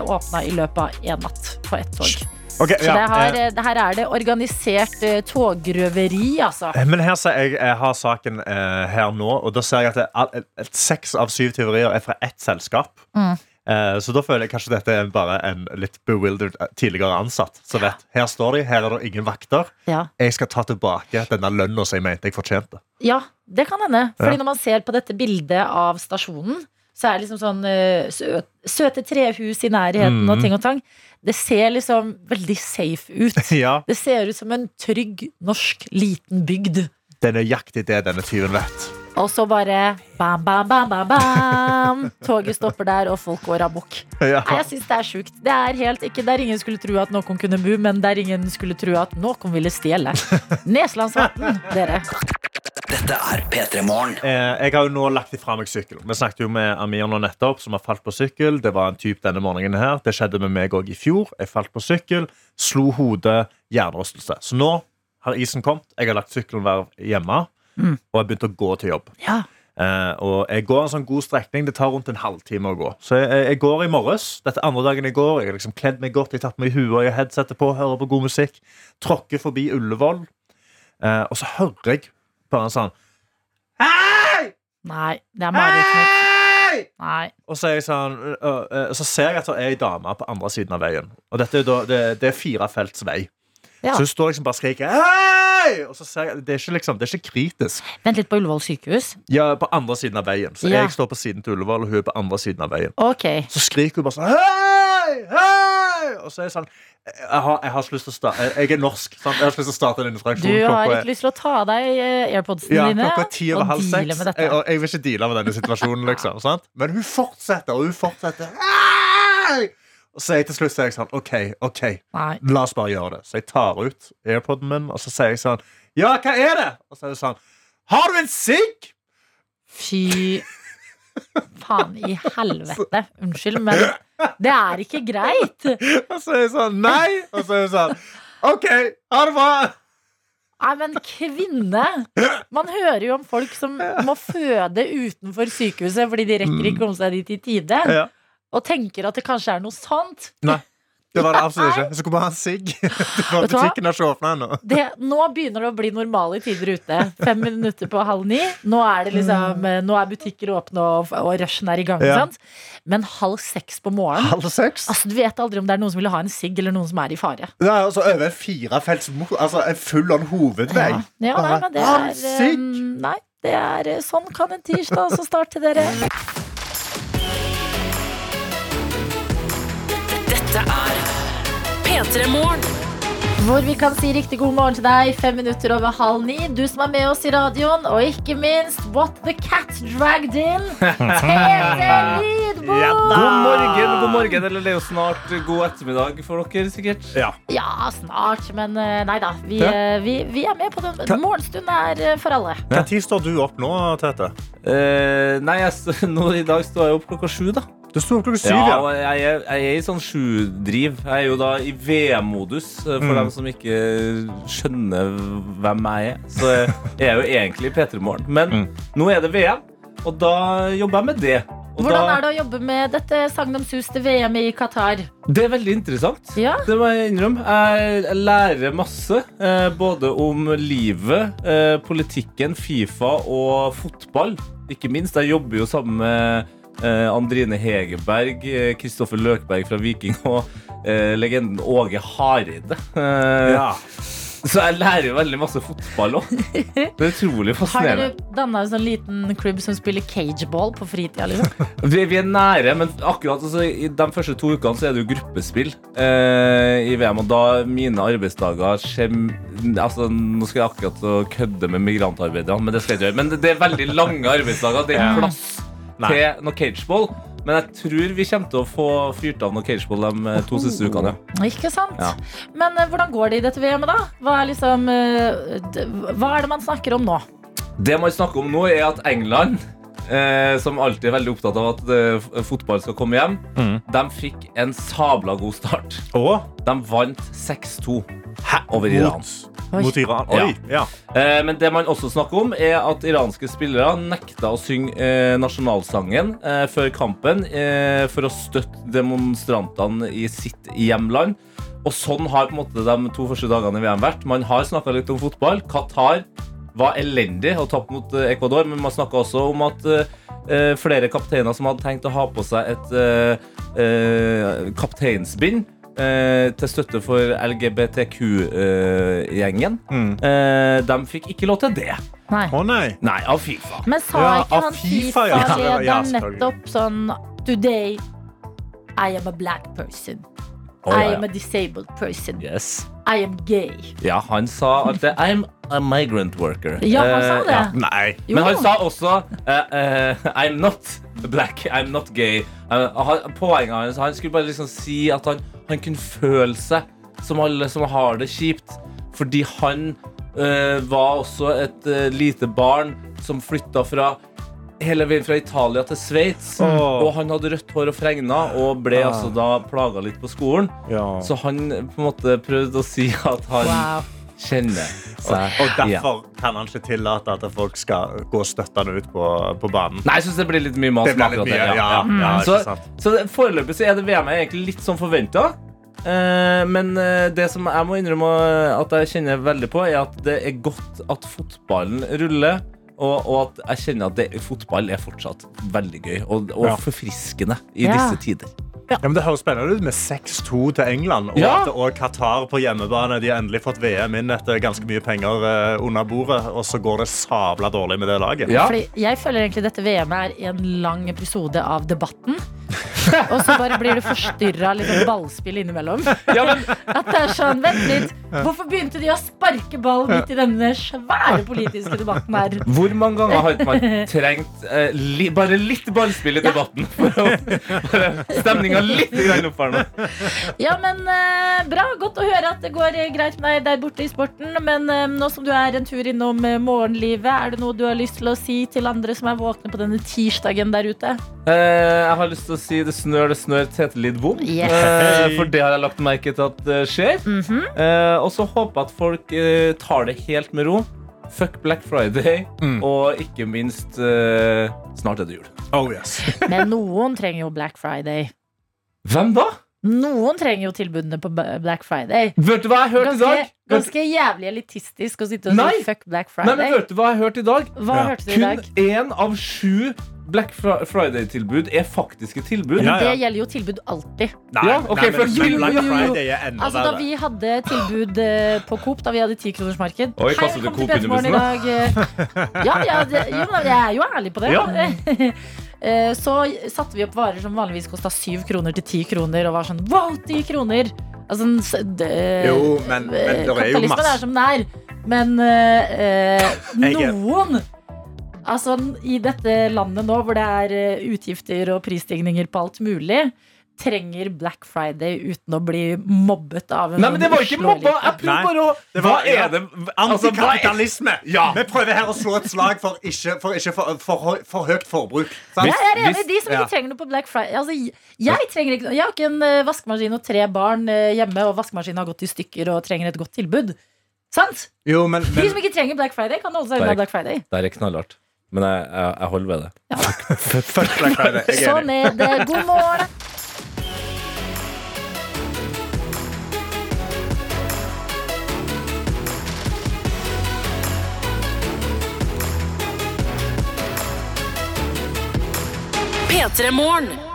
B: åpna i løpet av én natt på ett tog.
C: Ok,
B: Så det,
C: ja
B: her, eh, det her er det organisert eh, togrøveri, altså.
C: eh, men her ser jeg, jeg har saken eh, her nå, og da ser jeg at det, er all- at seks av syv teorier er fra ett selskap.
B: Mm.
C: Eh, så da føler jeg kanskje dette er bare en litt bewildered eh, tidligere ansatt. Så vet, her står de, her er det ingen vakter.
B: Ja,
C: jeg skal ta tilbake denne lønna som jeg mente jeg fortjente.
B: ja det kan hende.
C: Ja.
B: Fordi når man ser på dette bildet av stasjonen, så er det liksom sånn eh, sø- søte trehus i nærheten og
C: Mm.
B: ting og tang. Det ser liksom veldig safe ut.
C: Ja,
B: Det ser ut som en trygg, norsk, liten bygd.
C: Det er nøyaktig det denne tyven vet.
B: Og så bare bam, bam, bam, bam, bam. Toget stopper der, og folk går amok.
C: Ja.
B: Nei, jeg syns det er sjukt. Det er helt ikke der ingen skulle tro at noen kunne bo, men der ingen skulle tro at noen ville stjele. Neslandsvatn, dere.
F: Dette er P3 Morgen.
C: Eh, Jeg har jo nå lagt ifra meg sykkelen. Vi snakket jo med Amir nå nettopp, som har falt på sykkel. Det var en typ denne morgenen her. Det skjedde med meg òg i fjor. Jeg falt på sykkel, slo hodet, hjernerystelse. Så nå har isen kommet. Jeg har lagt sykkelen hver hjemme,
B: Mm.
C: og jeg begynte å gå til jobb.
B: Ja.
C: Eh, og jeg går en sånn god strekning. Det tar rundt en halvtime å gå. Så jeg, jeg går i morges. Dette er andre dagen jeg går. Jeg har liksom kledd meg godt, jeg har tatt meg i huet, jeg har headsetet på, hører på god musikk. Tråkker forbi Ullevål, eh, og så hører jeg bare en sånn
B: Nei, det er mareritt. Nei.
C: Og så, er jeg sånn, øh, øh, så ser jeg at det er ei dame på andre siden av veien. Og dette er jo da, det, det er firefelts vei.
B: Ja.
C: Så hun står liksom bare og skriker Hei! Og så ser jeg, det er ikke liksom, det er ikke kritisk.
B: Vent litt på Ullevål sykehus.
C: Ja, på andre siden av veien. Så
B: Ja.
C: jeg står på siden til Ullevål, og hun er på andre siden av veien.
B: Ok.
C: Så skriker hun bare sånn Hei! Hei! Og så er jeg sånn Jeg har, jeg har ikke lyst til å starte Jeg er norsk, sant? Jeg har ikke lyst til å starte en
B: Du
C: interaksjon.
B: har
C: Klokka er-
B: ikke lyst til å ta av deg eh, airpodsene
C: Ja,
B: dine
C: klokka er ti over
B: og
C: halv
B: deale
C: seks.
B: med
C: Jeg,
B: dette.
C: og jeg vil ikke deale med denne situasjonen, liksom. sant? Men hun fortsetter, og hun fortsetter. Ai! Og så er jeg til slutt så er jeg sånn OK, OK,
B: Nei.
C: la oss bare gjøre det. Så jeg tar ut airpoden min, og så sier jeg sånn Ja, hva er det? Og så er hun sånn Har du en sigg?
B: Fy faen i helvete. Unnskyld, men det er ikke greit.
C: Og så er jeg sånn Nei. Og så er hun sånn OK, ha det bra.
B: Nei, men kvinne! Man hører jo om folk som må føde utenfor sykehuset fordi de rekker ikke å komme seg dit i tide.
C: Mm. Ja.
B: og tenker at det kanskje er noe sant.
C: Nei. Det var det absolutt ikke. Jeg skulle bare ha en sigg. Det var-
B: Vet du hva?
C: Butikken har ikke åpna ennå.
B: Det, nå begynner det å bli normale tider ute. Fem minutter på halv ni. Nå er, det liksom, eh, nå er butikker åpne, og, og rushen er i gang.
C: Mm. Ja.
B: Sant? Men halv seks på morgenen
C: Halv seks?
B: Altså, Du vet aldri om det er noen som vil ha en sigg, eller noen som er i fare.
C: Det er altså over en firefelts mo- Altså en full on hovedvei.
B: Ja, ja nei, men det
C: Halv
B: er
C: sigg?
B: um, Nei, det er eh, sånn kan en tirsdag også starte, dere.
A: Dette er P3 Morgen.
B: Hvor vi kan si riktig god morgen til deg fem minutter over halv ni. Du som er med oss i radioen, og ikke minst What the Cat Dragged In. Tete Lidbom!
G: God morgen, god morgen, eller det er jo snart god ettermiddag for dere, sikkert.
C: Ja.
B: Ja, snart, men eh, nei da. Vi,
G: Ja.
B: eh, vi, vi er med på den.
G: Hva?
B: Morgenstund er eh, for alle.
C: Når står du opp nå, Tete?
G: Eh, nei, jeg, s- nå, i dag står jeg opp klokka sju, da.
C: Du sto opp klokka syv,
G: Ja,
C: ja.
G: og jeg, er- jeg er i sånn sju-driv. Jeg er jo da i VM-modus, eh, for
C: Mm.
G: dem som ikke skjønner hvem jeg er. Så jeg er jo egentlig i P3 Morgen. Men nå er det VM, og da jobber jeg med det. Og
B: Hvordan
G: da,
B: er det å jobbe med dette sagnomsuste VM i Qatar?
G: Det er veldig interessant.
B: Ja.
G: Det må jeg innrømme. Jeg jeg lærer masse. Eh, både om livet, eh, politikken, Fifa og fotball. Ikke minst. Jeg jobber jo sammen med eh, Andrine Hegerberg, eh, Kristoffer Løkberg fra Viking og eh, legenden Åge Hareide. Eh,
C: ja.
G: Så jeg lærer jo veldig masse fotball òg. Det er utrolig
B: Har
G: fascinerende.
B: dere danna en sånn liten klubb som spiller cageball på fritida? Liksom?
G: Vi, vi er nære, men akkurat altså, i de første to ukene så er det jo gruppespill eh, i VM. Og da mine arbeidsdager skjem, altså, Nå skal jeg akkurat så kødde med migrantarbeiderne, men det skal jeg ikke gjøre. Men det, det er veldig lange arbeidsdager. Det er plass
C: Nei.
G: til noe cageball. Men jeg tror vi kommer til å få fyrt av noe cageball de eh, to siste ukene. ja.
B: Ikke sant?
G: Ja.
B: Men eh, hvordan går det i dette VM-et, da? Hva er, liksom, eh, d- hva er det man snakker om nå?
G: Det man snakker om nå, er at England Eh, som alltid er veldig opptatt av at eh, f- fotball skal komme hjem. De fikk en sabla god start.
C: Mm. Og
G: De vant 6-2 over Iran.
C: mot, mot Iran. Oi. Ja.
G: Eh, men det man også snakker om, er at iranske spillere nekta å synge eh, nasjonalsangen eh, før kampen eh, for å støtte demonstrantene i sitt hjemland. Og sånn har på en måte de to første dagene i VM vært. Man har snakka litt om fotball. Qatar var elendig og tapte mot eh, Ecuador, men man snakka også om at eh, eh, flere kapteiner som hadde tenkt å ha på seg et eh, eh, kapteinsbind eh, til støtte for LGBTQ-gjengen.
C: Mm.
G: Eh, de fikk ikke lov til det.
B: Nei.
C: Å nei.
G: Nei, av Fifa.
B: Men sa
C: Ja,
B: ikke
C: av
B: han
C: FIFA, ja. Ja, ja,
B: Fifa-lederen
C: selvfølgelig.
B: nettopp sånn Today I am a black person.
G: Å,
B: I
G: ja,
B: am a disabled person.
G: ja. Yes.
B: I am gay.
G: ja, han sa at det, I'm a migrant worker.
B: Ja, han sa
G: Eh,
B: det.
G: ja.
C: Nei.
B: Jo,
G: Men han
B: jo.
G: sa også eh, eh, I'm not black, I'm not gay. Eh, han, poenget hans Han skulle bare liksom si at han, han kunne føle seg som alle som har det kjipt. Fordi han eh, var også et eh, lite barn som flytta fra hele veien fra Italia til Sveits.
C: Åh.
G: Og han hadde rødt hår og fregna og ble
C: Ah.
G: altså da plaga litt på skolen.
C: Ja.
G: Så han eh, på en måte prøvde å si at han
B: Wow.
G: kjenner seg
C: Og
G: igjen.
C: derfor kan han ikke tillate at folk skal gå støttende ut på, på banen.
G: Nei, jeg syns det blir litt mye mas.
C: Det blir
G: med
C: litt
G: akkurat det. Mm.
C: mye. Ja, ja,
G: Så,
C: ikke sant.
G: så det- foreløpig så er det VM jeg er egentlig litt som forventa. Eh, men eh, det som jeg må innrømme eh, at jeg kjenner veldig på, er at det er godt at fotballen ruller. Og, og at jeg kjenner at det, fotball er fortsatt veldig gøy og, og
C: Ja.
G: forfriskende i
B: Ja.
G: disse tider.
C: Ja, men det høres spennende ut med 6-2 til England. Og
G: Ja.
C: at også Qatar på hjemmebane De har endelig fått VM inn etter ganske mye penger eh, under bordet. Og så går det sabla dårlig med det laget.
G: Ja.
B: Fordi jeg føler egentlig dette VM-et er en lang episode av Debatten. Og så bare blir du forstyrra av litt sånn ballspill innimellom.
G: Ja, men,
B: At det er sånn, vent litt Hvorfor begynte de å sparke ball midt i denne svære politiske debatten her?
G: hvor mange ganger har ikke man trengt eh, li, bare litt ballspill i debatten? For å, for stemninga litt grann opp her nå.
B: Ja, men eh, bra. Godt å høre at det går eh, greit med deg der borte i sporten. Men eh, nå som du er en tur innom eh, morgenlivet, er det noe du har lyst til å si til andre som er våkne på denne tirsdagen der ute?
G: Eh, jeg har lyst til å si det snør, det snør Tete Lidbom.
B: Yes.
G: Eh, for det har jeg lagt merke til at det skjer.
B: Mhm. Mm.
G: eh, og så håper jeg at folk eh, tar det helt med ro. Fuck Black Friday. Og ikke minst eh, Snart er det jul.
C: Oh, yes.
B: Men noen trenger jo Black Friday.
G: Hvem da?
B: Noen trenger jo tilbudene på B- Black Friday.
G: Vet du hva jeg hørte i dag?
B: Ganske,
G: Vet-
B: ganske jævlig elitistisk å sitte og
G: Nei!
B: si fuck Black
G: Nei, men
B: Friday.
G: hørte du hva jeg hørte i dag?
B: Hva
C: Ja.
B: hørte du i
G: Kun
B: dag?
G: én av sju Black Fri- Friday-tilbud er faktiske tilbud.
C: Ja,
B: Det gjelder jo tilbud alltid.
G: Ja, ok, for-
C: men
G: jo, jo,
C: Black
G: jo, jo.
C: Friday er enda
B: Altså Da vi hadde tilbud eh, på Coop, da vi hadde 10-kronersmarked
G: Oi,
B: Hei,
G: kastet du
B: velkommen til
G: Coop
B: Petermorgen
G: under
B: i dag. eh. Ja, ja, det, jo, men jeg er jo ærlig på det.
G: Ja.
B: Eh, Så satte vi opp varer som vanligvis kosta 7 kroner til 10 kroner, og var sånn wow, 10 kroner! Altså, en s- d-
C: Jo, men- men det er jo
B: Eh, Kapitalismen
C: masse-
B: er som den er. Men eh, eh,
C: Jeg er-
B: noen Altså, i dette landet nå hvor det er eh, utgifter og prisstigninger på alt mulig, trenger Black Friday uten å bli mobbet av en
G: Nei, men det var ikke mobba!
B: Oslo-elite.
G: Jeg prøvde
C: Nei,
G: bare å
C: det
G: Hva
C: var-
G: er det altså, hva er,
C: Antikapitalisme!
G: Ja.
C: Vi prøver her å slå et slag for ikke for, ikke for, for, høy- for høyt forbruk. sant?
B: Jeg er enig i de som
C: ja.
B: ikke trenger noe på Black Friday. Altså, jeg- jeg, trenger ikke, noe- jeg har ikke en eh, vaskemaskin og tre barn eh, hjemme, og vaskemaskinen har gått i stykker og trenger et godt tilbud. Sant?
C: Jo, men,
B: De
C: men
B: som ikke trenger Black Friday, kan holde seg
G: Nei.
B: unna Black Friday.
G: Det er knallhardt. Men jeg, jeg, jeg holder ved det.
C: fuck Black Friday. Jeg er
B: Sånn
C: enig.
B: er det. God morgen.
A: P3 Morgen.